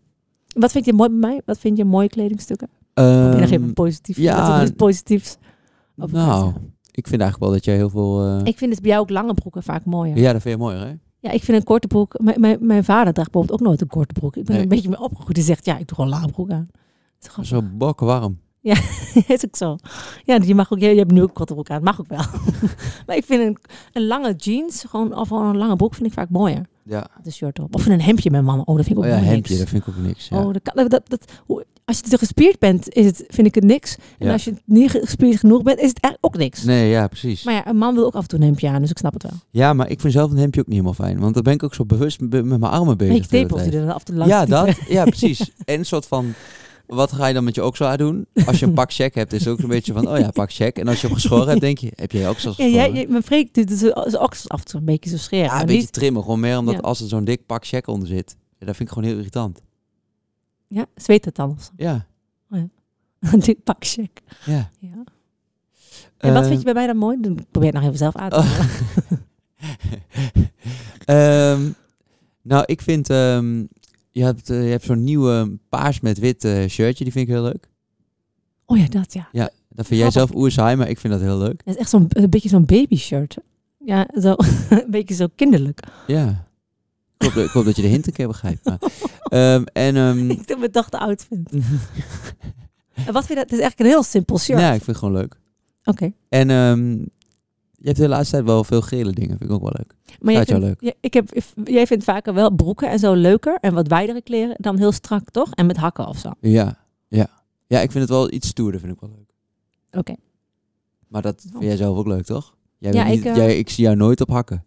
Wat vind je mooi bij mij? Wat vind je mooie kledingstukken?
Ehm,
Probeer nog even positief.
ja,
dat is iets positiefs. op elkaar te
Nou,
zeggen.
ik vind eigenlijk wel dat jij heel veel... eh,
Ik vind het bij jou ook lange broeken vaak mooier.
Ja, dat vind je mooi, hè?
Ja, ik vind een korte broek. Mijn, mijn, mijn vader draagt bijvoorbeeld ook nooit een korte broek. Ik ben
Nee.
een beetje mee opgegroeid. Die zegt, ja, ik doe gewoon lange broek aan. Dat is
Dat is
grappig.
wel bokkenwarm.
*laughs* is ook zo. Ja, dus je mag ook. Je, je hebt nu ook korte broek aan. Mag ook wel. *laughs* maar ik vind een, een lange jeans, gewoon, of gewoon een lange broek, vind ik vaak mooier.
Ja.
Met een shirt op. Of een hemdje met mama. Oh, dat vind
Oh
ik ook
ja,
mooi
hemdje,
niks.
dat vind ik ook niks. Ja.
Oh, dat, kan- dat, dat, hoe- als je te gespierd bent, is het, vind ik het niks. En
Ja.
als je niet gespierd genoeg bent, is het eigenlijk ook niks.
Nee, ja, precies.
Maar ja, een man wil ook af en toe een hemdje aan, dus ik snap het wel.
Ja, maar ik vind zelf een hemdje ook niet helemaal fijn. Want dan ben ik ook zo bewust be- met mijn armen bezig.
Beetje
de hele
tepels die
tijd.
er dan af en toe langs
ja,
stiekem-
dat. Ja, precies. En een soort van... Wat ga je dan met je oksel aan doen? Als je een pak check hebt, is het ook een beetje van... Oh ja, pak check. En als je hem geschoren hebt, denk je... Heb je je oksels
Ja,
geschoren?
jij, jij- mijn Freek doet zijn zijn oksels af en toe een beetje zo scheren.
Ja,
maar
een beetje
niet-
trimmen. Gewoon meer omdat
Ja.
als er zo'n dik pak check onder zit... Ja, dat vind ik gewoon heel irritant.
ja, zweet het dan of zo. *laughs*
Ja,
Dit pak check.
ja.
Ja. En wat
Eh,
vind je bij mij dan mooi? Dan probeer het nog even zelf aan te
Oh. *laughs*
halen.
Ehm, nou, ik vind... ehm, je hebt, eh, je hebt zo'n nieuwe paars met wit eh, shirtje. Die vind ik heel leuk.
Oh ja, dat ja.
Ja, dat vind jij
Grappig.
zelf oer saai, maar ik vind dat heel leuk.
Dat is echt zo'n een beetje zo'n baby shirt. Ja, zo, *laughs* een beetje zo kinderlijk.
Mm. Ja. Ik hoop, dat- ik hoop dat je de hint een keer begrijpt.
*laughs*
Maar. Ehm, en... ehm,
Ik dacht dat de oud vind. En wat vind je dat? Het is eigenlijk een heel simpel shirt.
Ja, ik vind het gewoon leuk.
Oké.
En ehm, je hebt de laatste tijd wel veel gele dingen. Vind ik ook wel leuk.
Maar jij
Gaat jou
vindt, ja, ik heb, jij vindt vaker wel broeken en zo leuker en wat wijdere kleren dan heel strak, toch? En met hakken of zo. Oké.
Ja, ja. Ja, ik vind het wel iets stoerder. Vind ik wel leuk. Maar dat vind jij zelf ook leuk, toch? Jij
Ja,
bent niet-
ik, eh,
jij, ik zie jou nooit op hakken.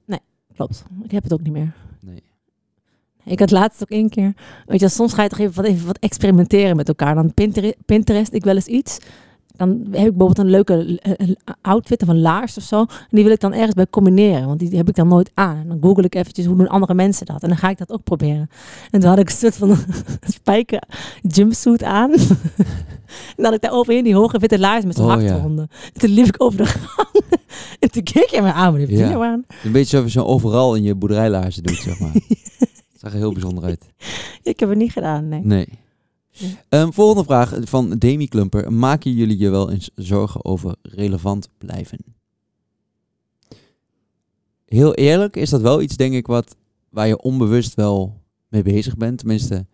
Klopt. Ik heb het ook niet meer.
Nee.
Ik had laatst ook één keer. Weet je, soms ga je toch even wat, even wat experimenteren met elkaar. Dan Pintere- Pinterest ik wel eens iets. Dan heb ik bijvoorbeeld een leuke eh, eh, outfit of een laars of zo. En die wil ik dan ergens bij combineren. Want die heb ik dan nooit aan. En dan google ik eventjes hoe doen andere mensen dat. En dan ga ik dat ook proberen. En toen had ik een soort van *laughs* spijker jumpsuit aan. *laughs* en dan had ik daar overheen die hoge witte laars met zo'n
Oh, ja.
achterhonden. En toen liep ik over de gang. *laughs* en toen keek hij me aan. Wat heb je
Ja.
nou aan?
Een beetje alsof je zo overal in je boerderijlaarzen doet, zeg
*laughs*
maar. Het zag er heel bijzonder uit.
Ik heb het niet gedaan, nee.
Nee.
Nee.
Ehm, volgende vraag van Demi Klumper. Maken jullie je wel eens zorgen over relevant blijven? Heel eerlijk is dat wel iets, denk ik, wat, waar je onbewust wel mee bezig bent. Tenminste,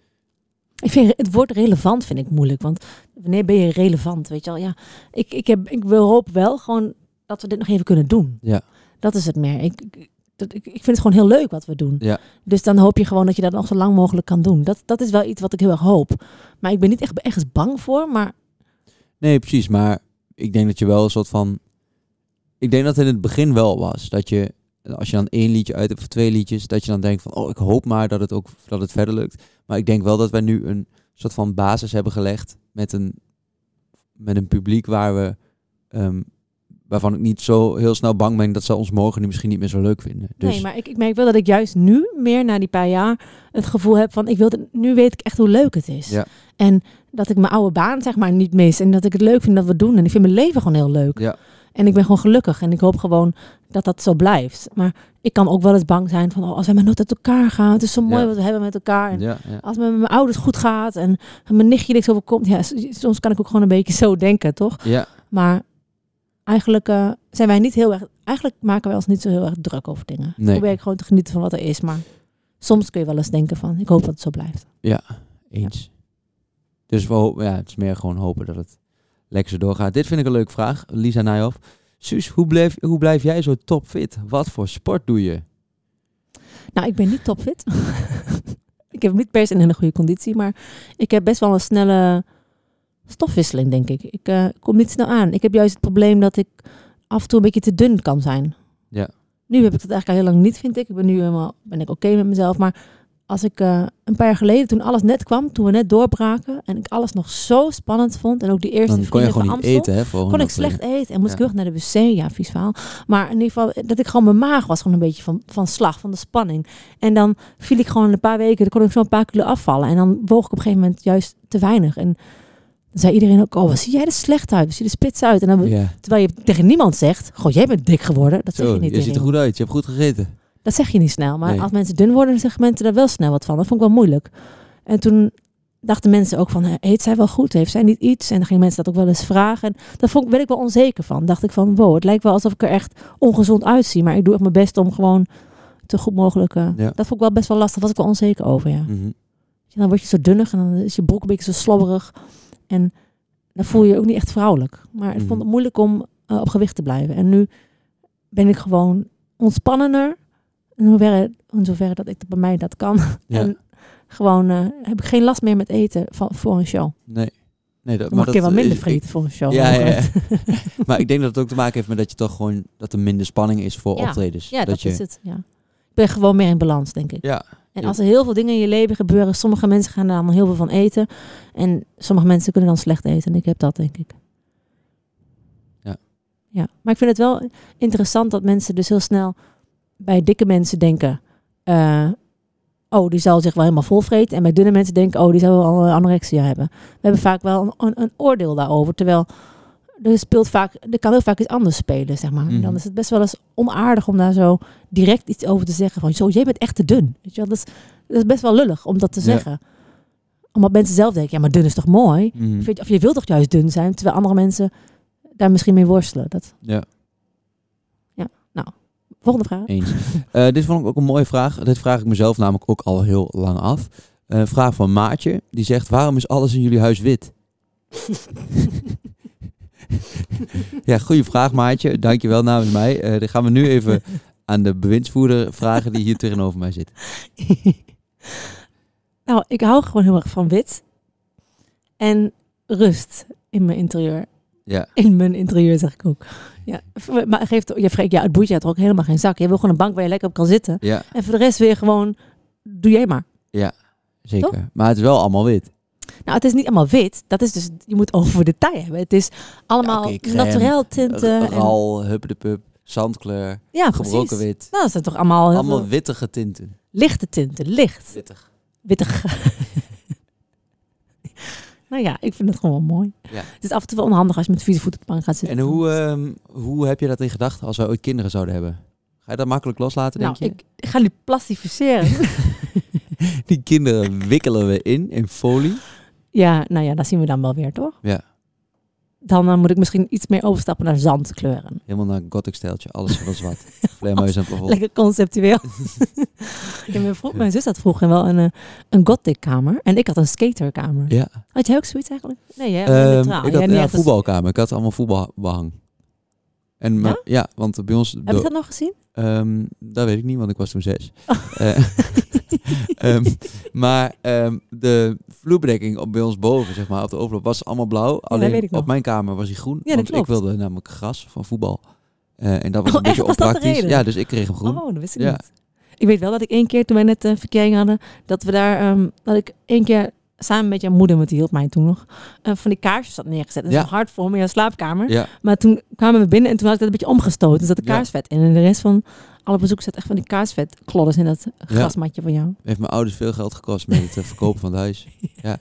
Ik vind het woord relevant vind ik moeilijk. Want wanneer ben je relevant? Weet je wel, ja. Ik, ik, heb, ik wil- hoop wel gewoon dat we dit nog even kunnen doen.
Ja.
Dat is het meer. Ik, ik, dat, ik, ik vind het gewoon heel leuk wat we doen.
Ja.
Dus dan hoop je gewoon dat je dat nog zo lang mogelijk kan doen. Dat, dat is wel iets wat ik heel erg hoop. Maar ik ben niet echt ergens bang voor. Maar
nee, precies. Maar ik denk dat je wel een soort van... Ik denk dat het in het begin wel was. Dat je, als je dan één liedje uit hebt of twee liedjes, dat je dan denkt van... Oh, ik hoop maar dat het, ook, dat het verder lukt. Maar ik denk wel dat wij nu een soort van basis hebben gelegd met een, met een publiek waar we... ehm, waarvan ik niet zo heel snel bang ben dat ze ons morgen nu misschien niet meer zo leuk vinden. Dus,
nee, maar ik, ik merk wel dat ik juist nu meer na die paar jaar het gevoel heb van ik wil dit, nu weet ik echt hoe leuk het is.
Ja.
En dat ik mijn oude baan zeg maar niet mis. En dat ik het leuk vind dat we het doen. En ik vind mijn leven gewoon heel leuk.
Ja.
En ik ben gewoon gelukkig. En ik hoop gewoon dat dat zo blijft. Maar ik kan ook wel eens bang zijn van... Oh, als we maar nooit uit elkaar gaan. Het is zo mooi
Ja.
wat we hebben met elkaar. En
Ja, ja.
als het met mijn ouders goed gaat. En mijn nichtje niks overkomt. Ja, s- soms kan ik ook gewoon een beetje zo denken, toch?
ja.
Maar eigenlijk eh, zijn wij niet heel erg. Eigenlijk maken wij ons niet zo heel erg druk over dingen.
Nee.
Probeer ik gewoon te genieten van wat er is. Maar soms kun je wel eens denken van ik hoop dat het zo blijft.
Eens. Dus we hopen, ja, het is meer gewoon hopen dat het lekker zo doorgaat. Dit vind ik een leuke vraag, Lisa Nijhoff. Suus, hoe blijf, hoe blijf jij zo topfit? Wat voor sport doe je?
Nou, ik ben niet topfit. *laughs* ik heb niet per se een hele goede conditie, maar ik heb best wel een snelle stofwisseling, denk ik. Ik eh, kom niet snel aan. Ik heb juist het probleem dat ik af en toe een beetje te dun kan zijn.
Ja.
Nu heb ik dat eigenlijk al heel lang niet, vind ik. Ik ben nu helemaal ben ik oké met mezelf. Maar als ik eh, een paar jaar geleden, toen alles net kwam, toen we net doorbraken en ik alles nog zo spannend vond en ook die eerste
Dan kon je
vrienden van
gewoon niet
Amstel,
eten, hè? voor
kon
een
ik slecht eten en moest
Ja.
ik heel erg naar de wc. Ja, vies verhaal. Maar in ieder geval, dat ik gewoon mijn maag was gewoon een beetje van, van slag, van de spanning. En dan viel ik gewoon een paar weken, dan kon ik zo'n paar kilo afvallen. En dan woog ik op een gegeven moment juist te weinig. En dan zei iedereen ook, oh, wat zie jij er slecht uit? Wat zie je er spits uit? En dan,
Ja.
terwijl je tegen niemand zegt, goh, jij bent dik geworden. Dat zeg
Zo,
je niet
je ziet
tegen
er goed uit. Je hebt goed gegeten.
dat zeg je niet snel. Maar
Nee.
als mensen dun worden, dan zeggen mensen daar wel snel wat van. Dat vond ik wel moeilijk. En toen dachten mensen ook van, eh, eet zij wel goed? Heeft zij niet iets? En dan gingen mensen dat ook wel eens vragen. En daar vond, ik- werd ik wel onzeker van. Dacht ik van, wow, het lijkt wel alsof ik er echt ongezond uitzie. Maar ik doe echt mijn best om gewoon zo goed mogelijk... eh,
Ja.
Dat vond ik wel best wel lastig. was ik wel onzeker over, ja.
Mhm.
Ja, Dan word je zo dunnig en dan is je broek een beetje zo slobberig. En dan voel je je ook niet echt vrouwelijk. Maar ik
Mhm.
vond het moeilijk om eh, op gewicht te blijven. En nu ben ik gewoon ontspannender. In hoeverre, in zoverre dat ik dat bij mij dat kan. *laughs*
Ja.
En gewoon eh, heb ik geen last meer met eten van, voor een show.
Nee. nee dat,
Dan mag ik er wel
dat
minder
is-
vreten voor een show.
Ja, ja, ja.
ja,
*laughs* maar ik denk dat het ook te maken heeft met dat je toch gewoon dat er minder spanning is voor
Ja.
optredens.
dat,
je,
is het. Ja. Ik ben gewoon meer in balans, denk ik.
Ja,
En
Ja.
als er heel veel dingen in je leven gebeuren, sommige mensen gaan er allemaal heel veel van eten. En sommige mensen kunnen dan slecht eten. En ik heb dat, denk ik.
Ja.
Ja, maar ik vind het wel interessant dat mensen dus heel snel bij dikke mensen denken... eh, oh, die zal zich wel helemaal volvreten. En bij dunne mensen denken, oh, die zal wel eh, anorexia hebben. We hebben vaak wel een, een, een oordeel daarover. Terwijl er, speelt vaak, er kan heel vaak iets anders spelen, zeg maar. En
Mhm.
dan is het best wel eens onaardig om daar zo direct iets over te zeggen. Van, zo, jij bent echt te dun. Weet je wel? Dat, is, dat is best wel lullig om dat te
Ja.
zeggen. Omdat mensen zelf denken, ja, maar dun is toch mooi?
Mhm.
Vind je- Of je wilt toch juist dun zijn, terwijl andere mensen daar misschien mee worstelen. Dat,
ja.
volgende vraag.
Eens. Eh, dit vond ik ook een mooie vraag. Dit vraag ik mezelf namelijk ook al heel lang af. Eh, Een vraag van Maatje. Die zegt, waarom is alles in jullie huis wit? *laughs* ja, goede vraag Maatje. Dankjewel namens mij. Eh dan gaan we nu even aan de bewindsvoerder vragen die hier tegenover mij zit.
*laughs* nou, ik hou gewoon heel erg van wit. En rust in mijn interieur.
Ja.
In mijn interieur, zeg ik ook. Ja, v- maar geeft, ja, Freek, ja, het boeit je toch ook helemaal geen zak. Je wil gewoon een bank waar je lekker op kan zitten.
Ja,
En voor de rest weer gewoon, doe jij maar.
zeker. Maar het is wel allemaal wit.
Nou, het is niet allemaal wit. Dat is dus, je moet over detail hebben. Het is allemaal
Ja, oké, crème,
naturel tinten. eh, en-
Ral, huppedepub, zandkleur,
ja,
gebroken
precies.
wit.
Nou, dat zijn toch allemaal, heel
Allemaal
veel
wittige tinten.
lichte tinten. Licht,
Wittig.
wittig. *laughs* nou ja, ik vind het gewoon wel mooi.
Ja.
Het is af en toe wel onhandig als je met vieze voeten op de bank gaat zitten.
En hoe, ehm, hoe heb je dat in gedachten als we ooit kinderen zouden hebben? Ga je dat makkelijk loslaten,
nou,
denk je?
ik, ik ga nu
*laughs*
plastificeren.
Die kinderen wikkelen we in, in folie.
ja, nou ja, dat zien we dan wel weer, toch?
Ja.
Dan eh, moet ik misschien iets meer overstappen naar zandkleuren.
Helemaal naar een gothic stijltje, alles van *laughs* zwart. Vleermuis en plafond.
Lekker
*laughs*
conceptueel. ja, mijn, vro- mijn zus had vroeger wel een, eh, een gothic kamer. En ik had een skaterkamer.
Ja,
Had jij ook zoiets eigenlijk? Nee, jij
Ehm,
hebt neutraal.
ik
Jij
had
hebt
ja,
niet echt een-
voetbalkamer. Ik had allemaal voetbalbehang. En maar- ja? want bij ons...
Heb je dat nog gezien?
Ehm, dat weet ik niet, want ik was toen zes.
Oh.
Eh, *laughs* ehm, maar ehm, de vloerbedekking op, bij ons boven, zeg maar, op de overloop, was allemaal blauw. Alleen
weet ik nog.
op mijn kamer was hij groen.
dat
want ik
klopt.
wilde namelijk gras van voetbal. Eh, en dat was
Oh,
een beetje
echt? Was dat de
onpraktisch.
reden?
Ja, dus ik kreeg hem groen.
Oh, dat wist ik
Ja.
niet. Ik weet wel dat ik één keer, toen wij net een verkering hadden, dat we daar, ehm, dat ik één keer samen met jouw moeder, want die hielp mij toen nog, eh, van die kaarsjes had neergezet. Dat is
Ja.
een hard voor me in jouw slaapkamer.
Ja,
Maar toen kwamen we binnen en toen had ik dat een beetje omgestoten. Dus zat de
Ja.
kaarsvet in. En de rest van alle bezoekers zat echt van die kaarsvetklodders in dat grasmatje van jou.
heeft mijn ouders veel geld gekost met het eh, verkopen van het huis.
Ja,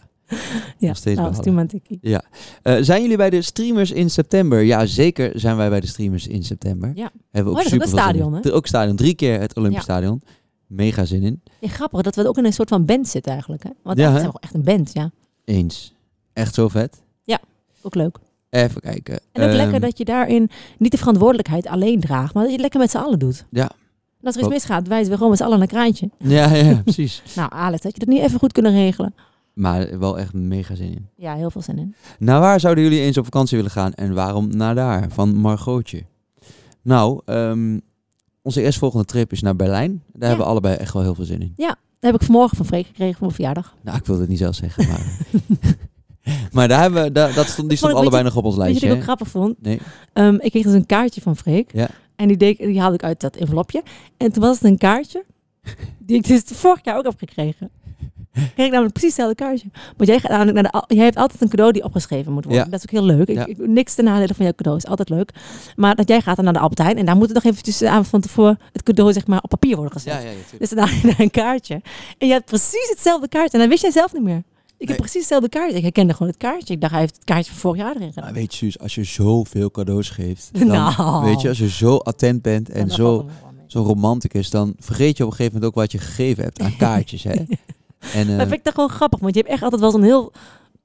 Nog steeds
nou,
behalen.
stuur maar een tikkie.
Eh, zijn jullie bij de streamers in september? Ja, zeker zijn wij bij de streamers in september.
Ja.
Hebben we
Oh,
ook
dat is ook
super veel
een
zin in.
stadion, hè?
Er- Ook stadion, drie keer het Olympisch
Ja.
Stadion. Mega zin in.
Ja, grappig dat we ook in een soort van band zitten eigenlijk. Hè? Want
Ja,
ja,
hè?
zijn we echt een band, ja.
Eens. Echt zo vet.
Ook leuk.
Even kijken.
En ook
Ehm,
lekker dat je daarin niet de verantwoordelijkheid alleen draagt, maar dat je het lekker met z'n allen doet.
Ja.
En als er iets
Klopt.
misgaat, wijzen we gewoon met z'n allen een kraantje.
Ja, ja, *laughs* ja, precies.
Nou, Alex, had je dat niet even goed kunnen regelen?
Maar wel echt mega zin in.
Ja, heel veel zin in.
Naar waar zouden jullie eens op vakantie willen gaan en waarom naar daar? Van Margotje. Nou, ehm, onze eerstvolgende trip is naar Berlijn. Daar hebben we allebei echt wel heel veel zin in.
Dat heb ik vanmorgen van Freek gekregen voor mijn verjaardag.
Nou, ik wilde het niet zelf zeggen, maar... *laughs* maar daar hebben we, daar, dat stond, die
Ik vond
stond
het-
allebei
weet
nog op ons
Weet je
lijstje.
wat ik
hè?
ook grappig vond?
Nee.
Ehm, ik kreeg dus een kaartje van Freek.
Ja.
En die, deed, die haalde ik uit dat envelopje. En toen was het een
*laughs*
kaartje die ik dus vorig jaar ook heb gekregen. Kreeg ik namelijk precies hetzelfde kaartje. Want jij, gaat namelijk naar de, al- jij hebt altijd een cadeau die opgeschreven moet worden.
Ja.
Dat is ook heel leuk. Ik,
Ja.
ik- niks ten nadele van jouw cadeau is altijd leuk. Maar dat jij gaat dan naar de Albert Heijn. En daar moet het nog eventjes aan van tevoren het cadeau zeg maar, op papier worden gezet.
Ja, ja, ja, tuurlijk.
Dus dan *laughs* haal je daar een kaartje. En je hebt precies hetzelfde kaartje. En dan wist jij zelf niet meer. Ik
Nee.
heb precies hetzelfde kaartje. Ik herkende gewoon het kaartje. Ik dacht, hij heeft het kaartje van vorig jaar erin gedaan.
Maar Nou, weet je, Suus, als je zoveel cadeaus geeft, dan,
Nou.
weet je, als je zo attent bent
Ja,
en
dat
zo,
valt er nog wel mee.
zo romanticus, dan vergeet je op een gegeven moment ook wat je gegeven hebt
*laughs*
aan kaartjes, hè? En, eh,
Maar vind ik dat gewoon grappig, want je hebt echt altijd wel zo'n heel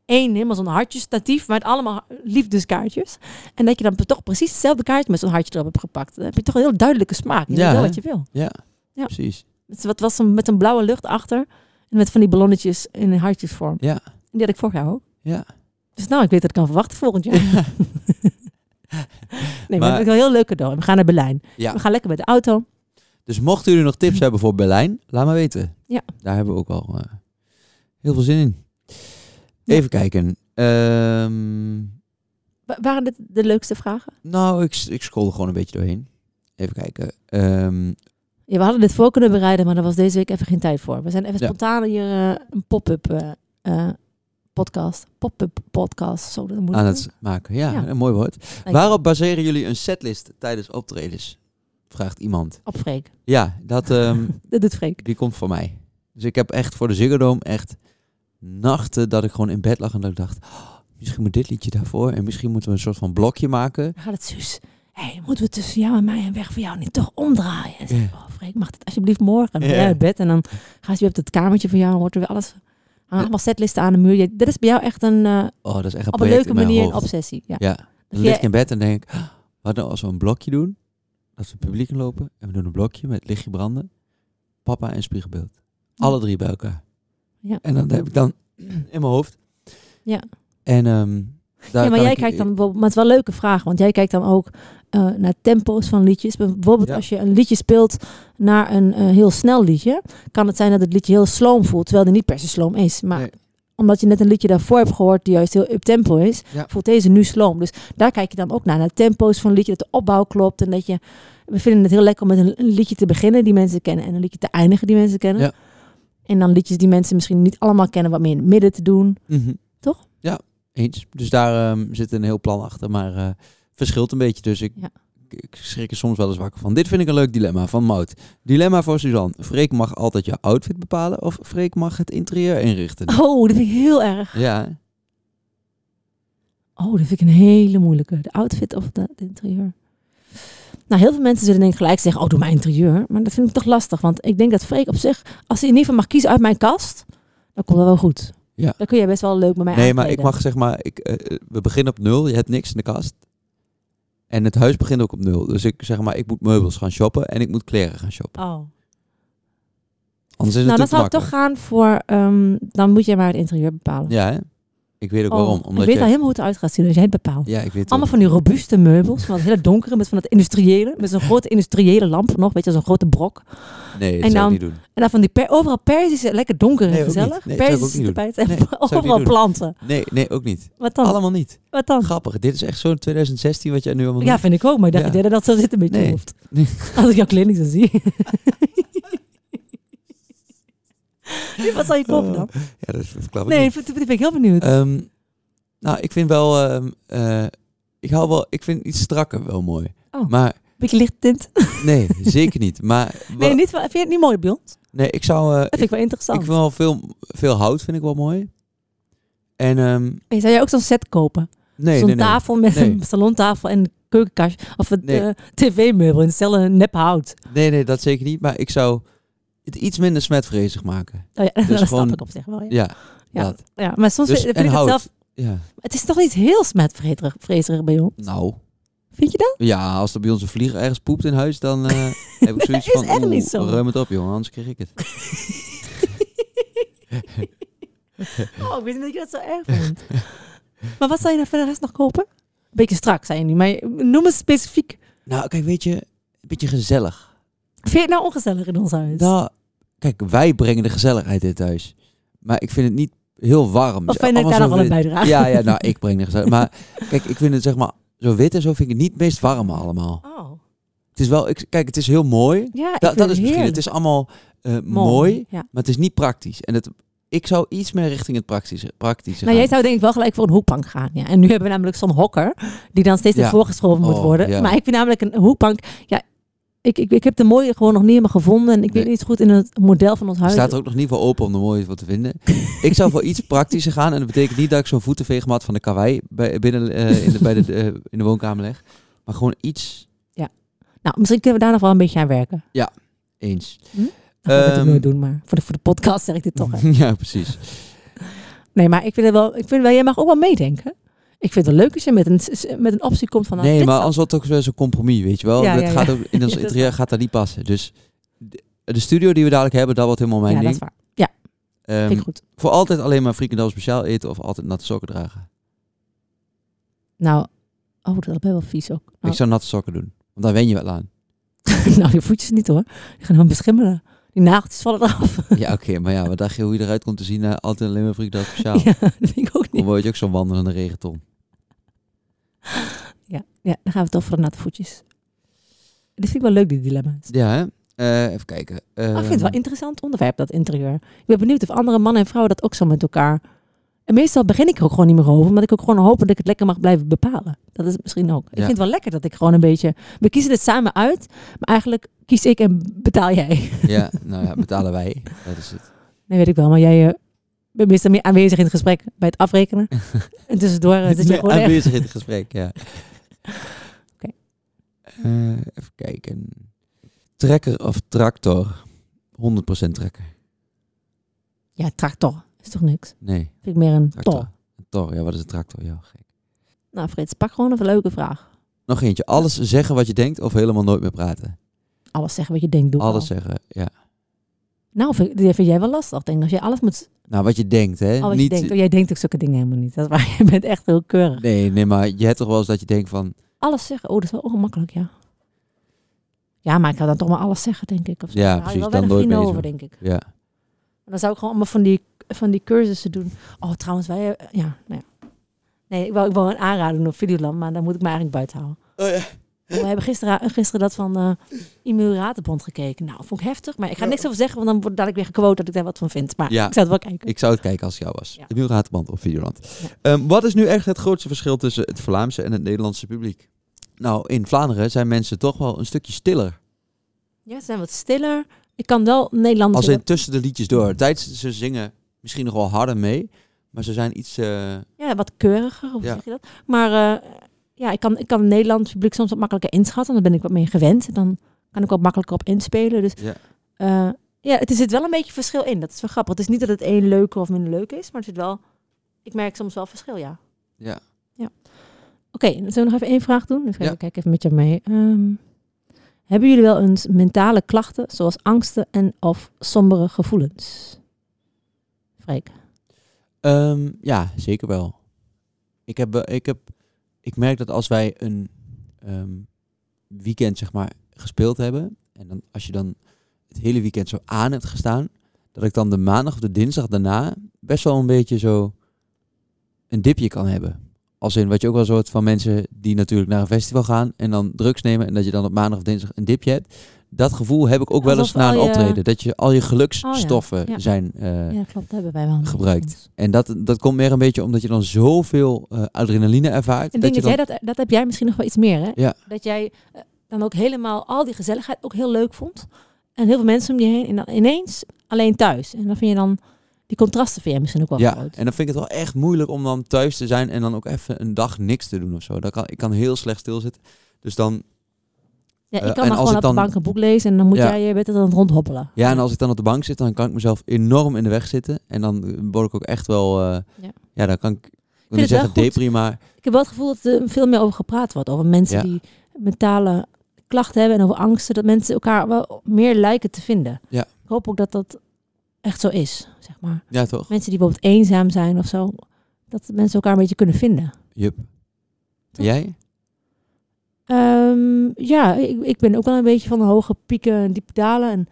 één, helemaal zo'n hartje statief met allemaal liefdeskaartjes. En dat je dan toch precies hetzelfde kaartje met zo'n hartje erop hebt gepakt. Dan heb je toch een heel duidelijke smaak. Je
Ja,
weet wel
hè?
wat je wil.
ja,
Ja.
precies.
Het wat was een, met een blauwe lucht achter en met van die ballonnetjes in een hartjesvorm.
Ja.
En die had ik vorig jaar ook.
Ja.
Dus nou, ik weet dat ik kan verwachten volgend jaar. *laughs* nee, maar,
Maar-
dat is wel een heel leuk cadeau. En We gaan naar Berlijn.
Ja.
We gaan lekker met de auto.
Dus mochten jullie nog tips hebben voor Berlijn, laat me weten.
Ja.
Daar hebben we ook al eh, heel veel zin in.
Ja.
Even kijken. Ehm,
Wa- waren dit de leukste vragen?
nou, ik, ik scroll er gewoon een beetje doorheen. Even kijken. Ehm,
Ja, we hadden dit voor kunnen bereiden, maar daar was deze week even geen tijd voor. We zijn even
Ja.
spontaan hier eh, een pop-up eh, eh, podcast. Pop-up podcast. Zo, dat moet
aan
ik
het maken. Ja,
Ja.
een mooi woord.
doen.
Waarop baseren jullie een setlist tijdens optredens? Vraagt iemand.
Op Freek.
Ja, dat, ehm,
Dat doet Freek.
die komt van mij. Dus ik heb echt voor de Ziggo Dome echt nachten dat ik gewoon in bed lag en dat ik dacht... "Oh, misschien moet dit liedje daarvoor en misschien moeten we een soort van blokje maken.
Dan gaat het Suus. Hé, hey, moeten we tussen jou en mij en weg voor jou niet toch omdraaien? En zeg ik, oh, Freek, mag het alsjeblieft morgen? En dan ben
Ja.
jij uit bed en dan gaat je weer op het kamertje van jou en wordt er weer alles... hangen allemaal setlisten aan de muur. Je- Dit is bij jou echt een, eh,
Oh, dat is echt een
op een
project
leuke
in mijn
manier een
hoofd.
obsessie. Ja.
Ja,
Dat
dan lig
jij-
ik in bed en denk ik, "Ah, wat nou als we een blokje doen? Als we het publiek in lopen en we doen een blokje met lichtje branden, papa en spiegelbeeld. Alle drie bij elkaar.
Ja.
En dan heb ik dan *clears throat* in mijn hoofd.
Ja.
En ehm daar
ja,
kan
maar jij
ik-
kijkt dan bijvoorbeeld, maar het is wel een leuke vraag, want jij kijkt dan ook eh, naar tempo's van liedjes. Bijvoorbeeld
Ja.
als je een liedje speelt naar een eh, heel snel liedje, kan het zijn dat het liedje heel sloom voelt, terwijl het niet per se sloom is. Maar
Nee.
omdat je net een liedje daarvoor hebt gehoord die juist heel up-tempo is,
Ja.
voelt deze nu sloom. Dus daar kijk je dan ook naar, naar tempo's van liedje, dat de opbouw klopt en dat je... We vinden het heel lekker om met een, een liedje te beginnen die mensen kennen en een liedje te eindigen die mensen kennen.
Ja.
En dan liedjes die mensen misschien niet allemaal kennen, wat meer in het midden te doen.
Mhm.
Toch?
Ja, eens. Dus daar ehm, zit een heel plan achter, maar eh, verschilt een beetje. Dus ik,
Ja.
ik- ik schrik er soms wel eens wakker van. Dit vind ik een leuk dilemma van Mout. Dilemma voor Suzanne. Freek mag altijd je outfit bepalen of Freek mag het interieur inrichten.
Oh, dat vind ik heel erg.
Ja,
Oh, dat vind ik een hele moeilijke. De outfit of de- het interieur. Nou, heel veel mensen zullen denk ik gelijk zeggen, oh, doe mijn interieur. Maar dat vind ik toch lastig, want ik denk dat Freek op zich, als hij in ieder geval mag kiezen uit mijn kast, dan komt dat wel goed.
Ja.
Dan kun jij best wel leuk met mij
Nee, maar ik
aankleden.
mag zeg maar, ik, eh, eh, we beginnen op nul, je hebt niks in de kast. En het huis begint ook op nul. Dus ik zeg maar, ik moet meubels gaan shoppen en ik moet kleren gaan shoppen.
Oh.
Anders is
Nou,
het natuurlijk
dan zou ik toch gaan voor, ehm, dan moet jij maar het interieur bepalen.
Ja, hè? ik weet ook
Oh,
waarom.
ik
Omdat
weet
je...
al helemaal hoe het eruit gaat zien als jij het bepaalt.
Ja, ik weet het
Allemaal
ook.
van die robuuste meubels, van dat hele donkere, met van dat industriële, met zo'n grote industriële lamp nog, weet je, zo'n grote brok.
Nee, dat
en
zou
dan-
ik niet doen.
En dan van die per overal perzische, lekker donker en
Nee, ook
gezellig.
niet. Nee, zou ik ook
perzische
niet doen.
tapijten en
Nee, zou ik niet
overal
doen.
planten.
Nee, nee, ook niet.
Wat dan?
Allemaal niet.
Wat dan?
Grappig, dit is echt zo'n 2016 wat jij nu allemaal
Oh. Ja,
doet.
vind ik ook. Maar ik dacht,
Ja.
ik deed dat dat zo zit een beetje in je
Nee.
hoofd. *laughs*
Nee.
Als ik jouw kleding zo zie. Ja, Wat zal je kopen dan?
Oh. Ja, dat verklap ik
nou. Nee,
niet.
dat ben ik heel benieuwd.
Ehm, nou, ik vind wel... ehm, eh, ik hou wel... Ik vind iets strakker wel mooi.
Oh.
Maar
Beetje licht tint. *laughs*
nee, zeker niet. Maar wa-
Nee, niet, wel- vind je het niet mooi bij ons?
nee, ik zou... eh,
Dat vind ik wel interessant.
Ik vind wel veel, veel hout vind ik wel mooi. En ehm,
En zou jij ook zo'n set kopen?
nee,
zo'n
nee, nee.
tafel met
Nee.
een salontafel en een keukenkastje. Of een eh,
Nee.
tv-meubel in hetzelfde nep hout.
nee, nee, dat zeker niet. Maar ik zou het iets minder smetvrezig maken.
Nou ja, *laughs* dat
Dus gewoon-
snap ik op zich wel. Ja, ja.
Ja, dat.
maar soms
Dus-
vind
en
ik het
hout.
zelf...
Ja,
Het is toch niet heel smetvrezig vrezerig bij ons?
nou.
Vind je
*laughs*
dat?
Ja, als er bij ons een vlieger ergens poept in huis, dan *laughs* eh, heb ik zoiets
is
van...
echt
oeh,
niet zo.
Ruim het op, jongen, anders krijg ik het.
Oh, ik wist niet dat je dat zo erg vond. maar wat zou je nou voor de rest nog kopen? Beetje strak, zei je nu. Maar noem eens specifiek.
Nou, kijk, weet je, een beetje gezellig.
Vind je het nou ongezellig in ons huis?
Nou, kijk, wij brengen de gezelligheid in thuis. Maar ik vind het niet heel warm. Dus
of vind ik daar nog wel een bijdrage?
Ja, ja, nou, ik breng de gezelligheid. Maar kijk, ik vind het zeg maar... Zo wit en zo vind ik het niet het meest warm allemaal.
Oh.
Het is wel... Ik, kijk, het is heel mooi.
Ja, ik
Da-
vind
dat is misschien...
heerlijk.
Het is allemaal eh, mooi.
Ja.
maar het is niet praktisch. En het, ik zou iets meer richting het praktische, praktische
Nou,
gaan.
jij zou denk ik wel gelijk voor een hoekbank gaan. Ja. En nu hebben we namelijk zo'n hokker die dan steeds
Ja.
naar voren geschoven moet
Oh,
worden.
ja.
Maar ik vind namelijk een hoekbank. Ja, ik, ik, ik heb de mooie gewoon nog niet helemaal gevonden. En ik
Nee.
weet niet goed in het model van ons huis.
Staat er ook nog niet voor open om er mooi wat te vinden. *laughs* ik zou voor iets praktischer gaan. En dat betekent niet dat ik zo'n voetenveegmat van de kawaii bij, binnen eh, in, de, bij de, eh, in de woonkamer leg. Maar gewoon iets
Nou, misschien kunnen we daar nog wel een beetje aan werken.
eens.
Dat Hm? gaan we
Ehm.
nooit doen, maar voor de, voor de podcast zeg ik dit toch. hè.
*laughs* ja, precies.
Nee, maar ik vind het wel, ik vind wel, jij mag ook wel meedenken. Ik vind het wel leuk als je met een, s- met een optie komt van... nou,
nee,
dit
maar
zou-
anders wordt het ook weer zo'n compromis, weet je wel.
Ja,
dat
ja, ja.
gaat ook in ons
Ja, *laughs* dat is
interieur gaat dat niet passen. Dus de, de studio die we dadelijk hebben, dat wordt helemaal mijn
Ja, dat is
ding.
waar.
Ehm,
Vind ik goed.
voor altijd alleen maar frikandel speciaal eten of altijd natte sokken dragen.
Nou, oh, dat ben wel vies ook. *laughs* Nou,
Ik zou natte sokken doen. Want daar wen je wel aan. *laughs*
nou, die voetjes niet hoor. Die gaan hem beschimmelen. Die nageltjes vallen eraf.
Ja, oké. maar ja, wat dacht je hoe je eruit komt te zien? eh, altijd alleen maar frikandel speciaal.
*laughs* Ja, dat vind ik ook
Dan
niet.
word je ook zo'n wandelende regenton.
Ja, dan gaan we het over de natte voetjes. Dit vind ik wel leuk, die dilemma's.
Ja, hè? Eh, even kijken.
Oh, ik vind het wel een interessant onderwerp, dat interieur. Ik ben benieuwd of andere mannen en vrouwen dat ook zo met elkaar... En meestal begin ik er ook gewoon niet meer over, omdat ik ook gewoon hoop dat ik het lekker mag blijven bepalen. Dat is het misschien ook. Ik
Ja.
vind het wel lekker dat ik gewoon een beetje... We kiezen het samen uit, maar eigenlijk kies ik en betaal jij.
Ja, nou ja, betalen wij. Dat is
*laughs*
het.
Nee, weet ik wel, maar jij eh, bent meestal meer aanwezig in het gesprek bij het
*laughs*
afrekenen. en tussendoor eh, zit je
Nee,
gewoon echt-
aanwezig in het gesprek, ja.
*laughs* Oké.
Eh, even kijken. Trekker of tractor? 100% trekker.
Ja, tractor. Is toch niks?
Nee,
Vind ik meer een
tractor.
tol.
Een tor, ja, wat is een tractor? Ja, gek.
Nou Frits, pak gewoon een leuke vraag.
Nog eentje. Alles zeggen wat je denkt of helemaal nooit meer praten?
Alles zeggen wat je denkt, doe ik
Alles
al.
zeggen, ja.
Nou, vind, die vind jij wel lastig, denk ik. Als jij alles moet...
Nou, wat je denkt, hè?
Al wat
Niet...
je denkt. Oh, jij denkt ook zulke dingen helemaal niet. Dat is waar. *laughs* Je bent echt heel keurig.
Nee, nee, maar je hebt toch wel eens dat je denkt van...
Alles zeggen. Oh, dat is wel ongemakkelijk, ja. Ja, maar ik ga dan toch maar alles zeggen, denk ik. Of zo.
Ja,
Daar hou
precies,
je wel
dan nooit
weinig vrienden
bezig.
over, denk ik.
Ja,
Maar dan zou ik gewoon allemaal van die, van die cursussen doen. Oh, trouwens, wij... eh, Ja, nou ja. Nee, ik wou, ik wou een aanrader doen op Videoland, maar daar moet ik me eigenlijk buiten houden.
Oh ja.
We hebben gisteren, eh, gisteren dat van eh Emiratenbond gekeken. Nou, vond ik heftig. Maar ik ga
Ja.
niks over zeggen, want dan wordt dadelijk weer gequote dat ik daar wat van vind. Maar
Ja.
ik zou het wel kijken.
Ik zou het kijken als ik jou was.
Ja.
De Wielratenband of Videoland. Ehm, wat is nu echt het grootste verschil tussen het Vlaamse en het Nederlandse publiek? Nou, in Vlaanderen zijn mensen toch wel een stukje stiller.
Ja, ze zijn wat stiller. Ik kan wel Nederlands...
Als in tussen de liedjes door. Tijdens ze zingen misschien nog wel harder mee. Maar ze zijn iets... eh,
Ja, wat keuriger, hoe
Ja.
zeg je dat? Maar eh, ja, ik kan, ik kan het Nederlands publiek soms wat makkelijker inschatten. Dan ben ik wat meer gewend. Dan kan ik wat makkelijker op inspelen. Dus
Ja.
eh, ja, het er zit wel een beetje verschil in. Dat is wel grappig. Het is niet dat het een leuker of minder leuk is, maar het zit wel... Ik merk soms wel verschil, ja.
ja.
Oké, dan zullen we nog even één vraag doen? Dus
Ja.
ik kijk even met jou mee. Ehm, hebben jullie wel eens mentale klachten, zoals angsten en of sombere gevoelens? Freek.
Ehm, ja, zeker wel. Ik, heb, eh, ik, heb, ik merk dat als wij een ehm, weekend zeg maar, gespeeld hebben... en dan, als je dan het hele weekend zo aan hebt gestaan... dat ik dan de maandag of de dinsdag daarna best wel een beetje zo een dipje kan hebben. Als in wat je ook wel soort van mensen die natuurlijk naar een festival gaan... en dan drugs nemen en dat je dan op maandag of dinsdag een dipje hebt... Dat gevoel heb ik ook wel eens
Alsof
na
al
een
je- Oh
optreden. Dat je al je geluksstoffen
ja.
zijn eh,
Ja, dat klopt. Dat hebben wij wel.
gebruikt. En dat, dat komt meer een beetje omdat je dan zoveel eh, adrenaline ervaart.
En
dat
ding
je
is,
dan,
hè, dat, dat heb jij misschien nog wel iets meer, hè?
Ja.
Dat jij eh, dan ook helemaal al die gezelligheid ook heel leuk vond. En heel veel mensen om je heen. En dan ineens alleen thuis. En dan vind je dan... Die contrasten vind jij misschien ook wel
ja,
groot.
en dan vind ik het wel echt moeilijk om dan thuis te zijn en dan ook even een dag niks te doen of zo. Dat kan, ik kan heel slecht stilzitten. Dus dan,
Ja,
Eh,
ik kan
en als
dan gewoon
ik
op
dan-
de bank een boek lezen en dan moet
Ja.
jij je bent aan het rondhobbelen.
ja, en als ik dan op de bank zit, dan kan ik mezelf enorm in de weg zitten. En dan word ik ook echt wel, eh, ja.
Ja.
dan kan ik, ik wil
het
niet
wel
zeggen
goed.
depri, maar
Ik heb wel het gevoel dat er veel meer over gepraat wordt. Over mensen
Ja.
die mentale klachten hebben en over angsten. Dat mensen elkaar wel meer lijken te vinden.
Ja.
Ik hoop ook dat dat echt zo is, zeg maar.
ja toch?
Mensen die bijvoorbeeld eenzaam zijn of zo. Dat mensen elkaar een beetje kunnen vinden.
Jup. En Jij?
Ehm, ja, ik, ik ben ook wel een beetje van de hoge pieken en diepe dalen. En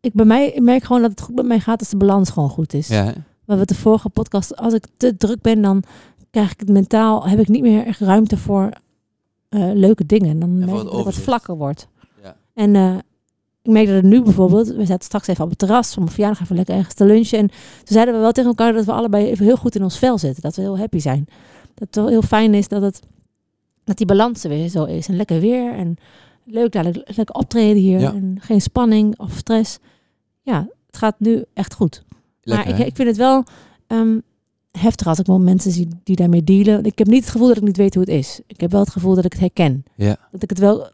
ik, bij mij, ik merk gewoon dat het goed met mij gaat als de balans gewoon goed is.
Ja, hè?
Wat we de vorige podcast, als ik te druk ben, dan krijg ik het mentaal, heb ik niet meer echt ruimte voor eh, leuke dingen. En dan
voor
merk
het
ik dat ik wat
overzicht.
vlakker wordt.
Ja.
En eh, ik merk dat het nu bijvoorbeeld, we zaten straks even op het terras voor mijn verjaardag even lekker ergens te lunchen. En toen zeiden we wel tegen elkaar dat we allebei even heel goed in ons vel zitten. Dat we heel happy zijn. Dat het wel heel fijn is dat, het, dat die balans er weer zo is. En lekker weer en leuk dadelijk lekker optreden hier.
Ja.
En geen spanning of stress. Ja, het gaat nu echt goed.
Lekker,
maar
hè?
ik, ik vind het wel ehm, heftig als ik wel mensen zie die daarmee dealen. Ik heb niet het gevoel dat ik niet weet hoe het is. Ik heb wel het gevoel dat ik het herken.
Ja.
Dat ik het wel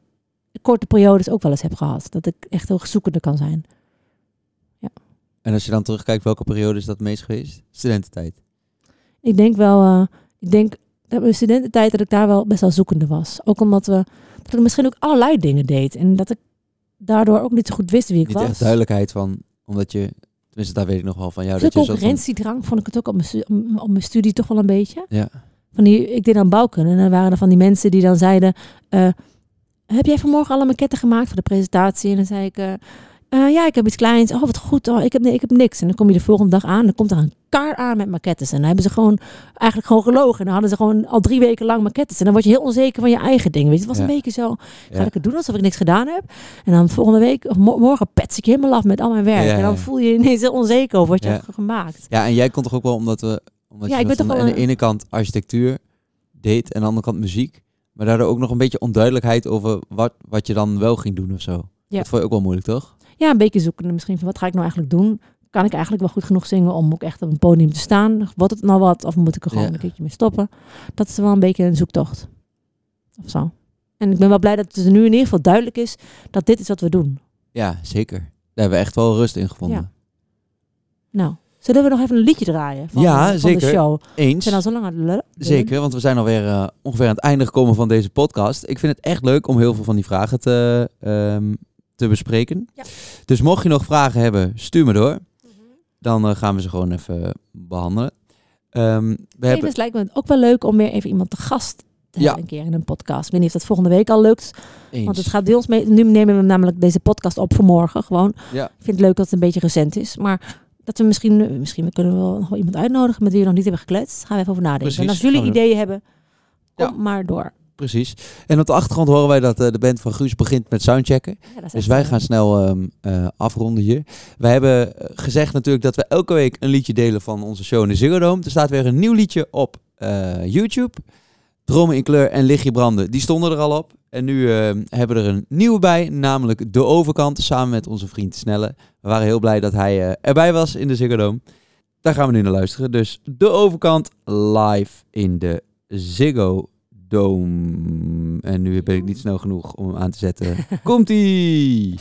korte periodes ook wel eens heb gehad. Dat ik echt heel zoekende kan zijn.
En als je dan terugkijkt, welke periode is dat het meest geweest? Studententijd.
Ik denk wel, eh, ik denk dat mijn studententijd dat ik daar wel best wel zoekende was. Ook omdat we, dat ik misschien ook allerlei dingen deed. En dat ik daardoor ook niet zo goed wist wie ik
Niet
was.
echt duidelijkheid van, omdat je, tenminste daar weet ik nog wel van jou.
Veel
dat je een soort van-
concurrentiedrang vond ik het ook op mijn, stu- op- op mijn studie toch wel een beetje.
Ja.
van die, ik deed aan bouwkunde. En dan waren er van die mensen die dan zeiden... eh, heb jij vanmorgen alle maquetten gemaakt voor de presentatie? En dan zei ik... eh, eh, ja, ik heb iets kleins. Oh, wat goed. Oh, ik, heb, nee, ik heb niks. En dan kom je de volgende dag aan. Dan komt er een kar aan met maquettes. En dan hebben ze gewoon eigenlijk gewoon gelogen. En dan hadden ze gewoon al drie weken lang maquettes. En dan word je heel onzeker van je eigen ding. Weet je, het was
Ja.
een beetje zo. Ga
Ja.
ik het doen alsof ik niks gedaan heb? En dan volgende week, of mo- morgen pets ik je helemaal af met al mijn werk.
Ja, ja,
En dan
ja.
voel je je ineens heel onzeker over wat
Ja.
je hebt gemaakt.
Ja, en jij kon toch ook wel omdat we. Omdat
Ja,
je
ik
soort
ben toch
van
wel
aan de
een-
ene kant architectuur deed en aan de andere kant muziek. Maar daardoor ook nog een beetje onduidelijkheid over wat, wat je dan wel ging doen of zo.
Ja.
Dat vond je ook wel moeilijk, toch?
ja, een beetje zoekende misschien van wat ga ik nou eigenlijk doen? Kan ik eigenlijk wel goed genoeg zingen om ook echt op een podium te staan? Wordt het nou wat? Of moet ik er gewoon
Ja.
een keertje mee stoppen? Dat is wel een beetje een zoektocht. Of zo. En ik ben wel blij dat het er nu in ieder geval duidelijk is dat dit is wat we doen.
Ja, zeker. Daar hebben we echt wel rust in gevonden.
Nou, zullen we nog even een liedje draaien van,
Ja,
van
zeker.
de show? We
Eens.
zijn al zo lang aan het lullen.
Zeker, want we zijn alweer eh ongeveer aan het einde gekomen van deze podcast. Ik vind het echt leuk om heel veel van die vragen te, ehm, te bespreken.
Ja. Mhm.
Dus mocht je nog vragen hebben, stuur me door. Dan eh, gaan we ze gewoon even behandelen. Ehm, we hebben...
Tevens lijkt me het ook wel leuk om weer even iemand te gast te
Ja.
hebben een keer in een podcast. Ik weet niet of dat volgende week al lukt.
Eens.
Want het oh, gaat bij ons mee. Nu nemen we namelijk deze podcast op voor morgen. Gewoon.
Ja.
Ik vind het leuk dat het een beetje recent is. Maar dat we misschien, misschien kunnen we wel nog wel iemand uitnodigen met wie we nog niet hebben gekletst. Gaan we even over nadenken.
Precies,
en als jullie
gaan we
ideeën hebben, kom
Ja.
maar door.
Precies. En op de achtergrond horen wij dat eh, de band van Guus begint met soundchecken.
Ja, dat is
Dus
echt,
wij
eh,
gaan snel ehm, eh, afronden hier. Wij hebben eh, gezegd natuurlijk dat we elke week een liedje delen van onze show in de Ziggo Dome. Er staat weer een nieuw liedje op eh, YouTube. Dromen in kleur en lichtje branden, die stonden er al op. En nu ehm, hebben we er een nieuwe bij, namelijk De Overkant, samen met onze vriend Snelle. We waren heel blij dat hij eh, erbij was in de Ziggo Dome. Daar gaan we nu naar luisteren. Dus De Overkant live in de Ziggo Dome. En nu ben ik niet snel genoeg om hem aan te zetten. Komt-ie!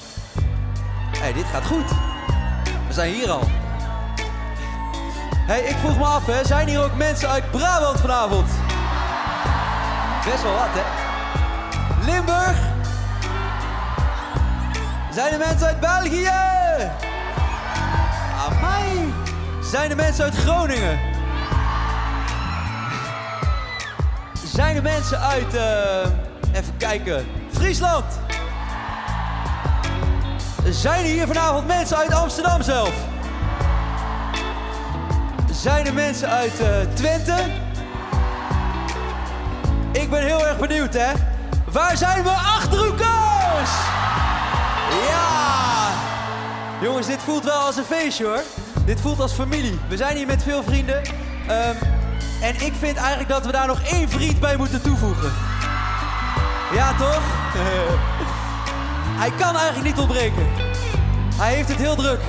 hey, dit gaat goed. We zijn hier al. hey, ik vroeg me af, hè, zijn hier ook mensen uit Brabant vanavond? Best wel wat, hè? Limburg? Zijn er mensen uit België? Amai! Zijn er mensen uit Groningen? Zijn er mensen uit, eh, even kijken, Friesland? Zijn er hier vanavond mensen uit Amsterdam zelf? Zijn er mensen uit eh, Twente? Ik ben heel erg benieuwd, hè? Waar zijn we Achterhoekers? Ja! Jongens, dit voelt wel als een feestje hoor. Dit voelt als familie. We zijn hier met veel vrienden. Ehm, en ik vind eigenlijk dat we daar nog één vriend bij moeten toevoegen. Ja, toch? *laughs* Hij kan eigenlijk niet ontbreken. Hij heeft het heel druk.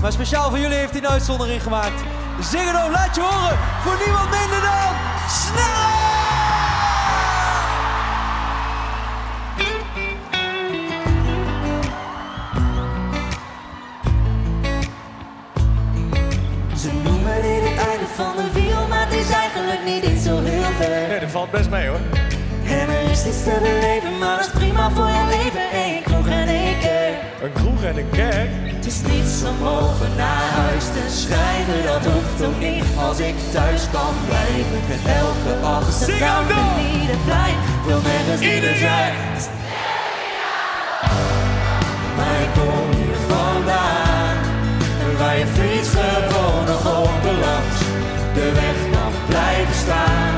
Maar speciaal voor jullie heeft hij een uitzondering gemaakt. Zing erom, laat je horen. Voor niemand minder dan Snelle!
Ze noemen dit het einde van de wiel, maar het is eigenlijk niet eens zo heel ver.
Nee, dat valt best mee hoor.
En er is iets te beleven, maar dat is prima voor je leven. Eén kroeg en één keer.
Een kroeg en een kerk.
Het is niets om over naar huis te schrijven, dat hoeft ook niet. Als ik thuis kan blijven, met elke Amsterdam
hem door!
en ieder plein wil nergens ieder
Iedereen!
zijn. Maar ik kom hier vandaan, waar je fiets gewoon nog onbelangs de weg mag blijven staan.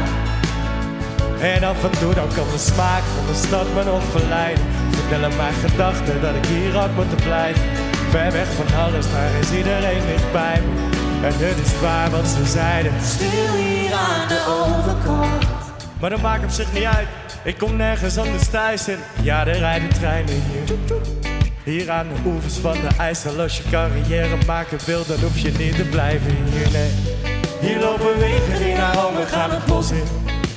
En af en toe dan kan de smaak van de stad me nog verleiden. Vertellen mijn gedachten dat ik hier had moeten blijven. Ver weg van alles, maar is iedereen dichtbij me. En het is waar wat ze zeiden.
Stil hier aan de overkant.
Maar dat maakt op zich niet uit. Ik kom nergens anders thuis en ja, er rijden treinen hier. Hier aan de oevers van de IJssel, als je carrière maken wil, dan hoef je niet te blijven hier, nee. Hier lopen wegen die naar Rome gaan het bos in.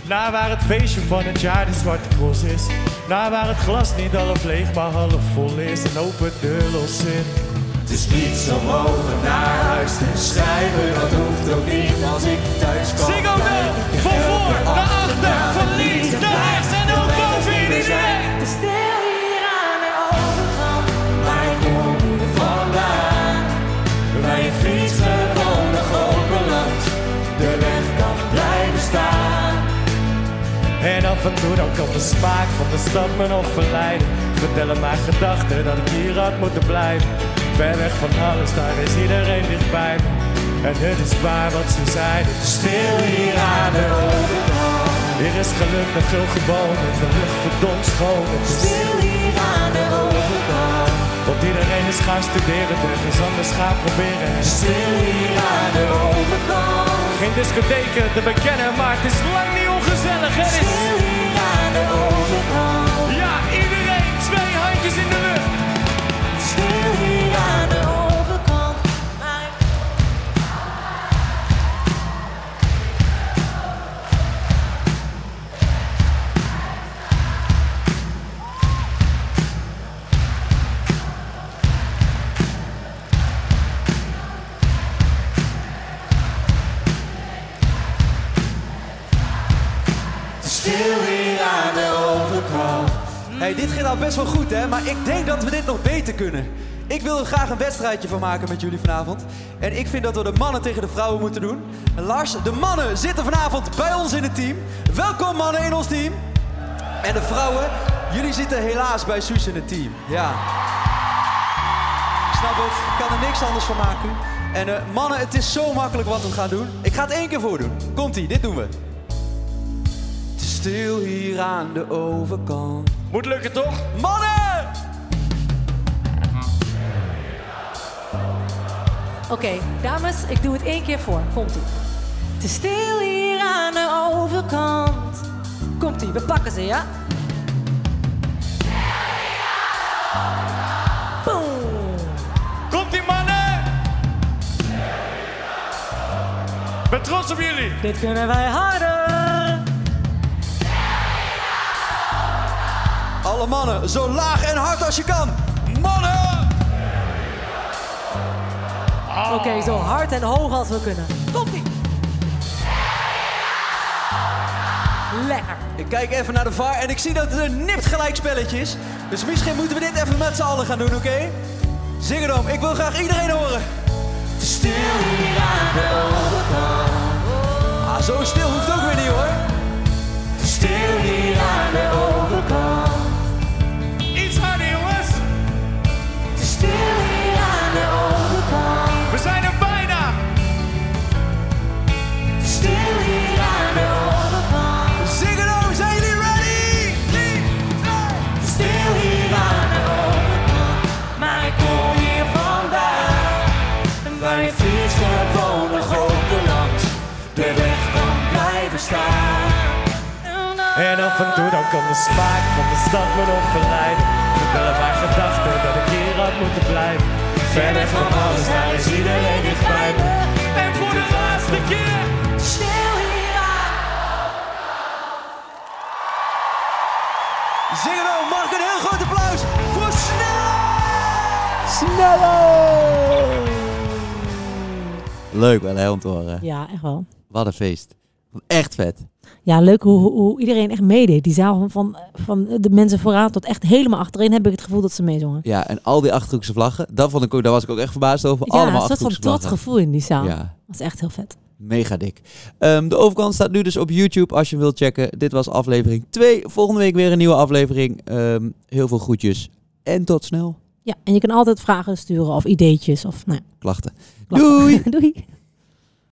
Naar waar het feestje van het jaar de Zwarte Cross is. Naar waar het glas niet half leeg, maar half vol is. En open de los in.
Het is niets om over naar huis te schrijven, dat hoeft ook niet als ik thuis kom.
Zing ook mee! Van voor, naar achter, van links, naar rechts en ook boven in iedereen!
Te stil hier aan de overkant, maar ik kom hier vandaan. Wij fietsen gewoon nog open langs, de weg kan blijven staan.
En af en toe dan kan de smaak van de stad me nog verleiden. Vertellen mijn gedachten dat ik hier had moeten blijven. Ver weg van alles, daar is iedereen dichtbij me. En het is waar wat ze zeiden. Stil hier aan de overkant. Hier is geluk met veel geboden, de lucht verdomd schoon. Het is
Stil hier aan de overkant,
want iedereen is gaan studeren, ergens anders gaan proberen.
stil hier aan de overkant.
Geen discotheken te bekennen, maar het is lang niet ongezellig. Het is...
Stil hier aan de overkant.
Ja, iedereen, twee handjes in de lucht.
Stil hier aan de overkant. Maar ik
Hey, dit ging al best wel goed, hè? Maar ik denk dat we dit nog beter kunnen. Ik wil er graag een wedstrijdje van maken met jullie vanavond. En ik vind dat we de mannen tegen de vrouwen moeten doen. En Lars, de mannen zitten vanavond bij ons in het team. Welkom mannen in ons team. En de vrouwen, jullie zitten helaas bij Suus in het team. Ja. Ik snap het, ik kan er niks anders van maken. En eh, mannen, het is zo makkelijk wat we gaan doen. Ik ga het één keer voordoen. Komt-ie, dit doen we. Het is Stil hier aan de overkant.
Moet lukken toch?
Mannen!
Oké, dames, ik doe het één keer voor. Komt-ie.
te stil hier aan de overkant.
Komt-ie, we pakken ze, ja?
Komt die mannen! Ik ben trots op jullie!
Dit kunnen wij harder.
Alle mannen, zo laag en hard als je kan. Mannen!
Oké, zo hard en hoog als we kunnen. Komt-ie. Lekker.
Ik kijk even naar de VAR en ik zie dat het een nipt gelijkspelletje is. Dus misschien moeten we dit even met z'n allen gaan doen, oké? Zing het om, ik wil graag iedereen horen.
Te stil hier aan de overkant.
Ah, zo stil hoeft ook weer niet hoor.
Te stil hier aan de overkant.
Iets harder jongens!
Te stil hier aan de overkant.
We zijn er bijna!
Te stil hier aan de overkant.
Zing het om, zijn jullie ready? Drie, twee.
Te stil hier aan de overkant. Maar ik kom hier vandaan. En wij fietsen gewoon nog open langs. De weg kan blijven staan.
En af en toe dan kan de smaak van de stad me nog verleiden. Vertellen mijn gedachten dat ik hier had moeten blijven. Verder van alles, daar is
Leuk wel hè, om te horen.
Ja, echt wel.
Wat een feest. Echt vet.
Ja, leuk hoe, hoe- hoe iedereen echt meedeed. Die zaal van, van de mensen vooraan tot echt helemaal achterin heb ik het gevoel dat ze meezongen.
Ja, en al die Achterhoekse vlaggen, dat vond ik ook, daar was ik ook echt verbaasd over.
ja,
Allemaal
een soort van
Achterhoekse
dat
vlaggen.
gevoel in die zaal.
Ja,
Dat is echt heel vet.
mega dik. Ehm, de overkant staat nu dus op YouTube als je hem wilt checken. Dit was aflevering 2. Volgende week weer een nieuwe aflevering. Ehm, heel veel groetjes en tot snel.
Ja, en je kan altijd vragen sturen of ideetjes of nou, ja,
Klachten.
klachten.
Doei!
*laughs* Doei!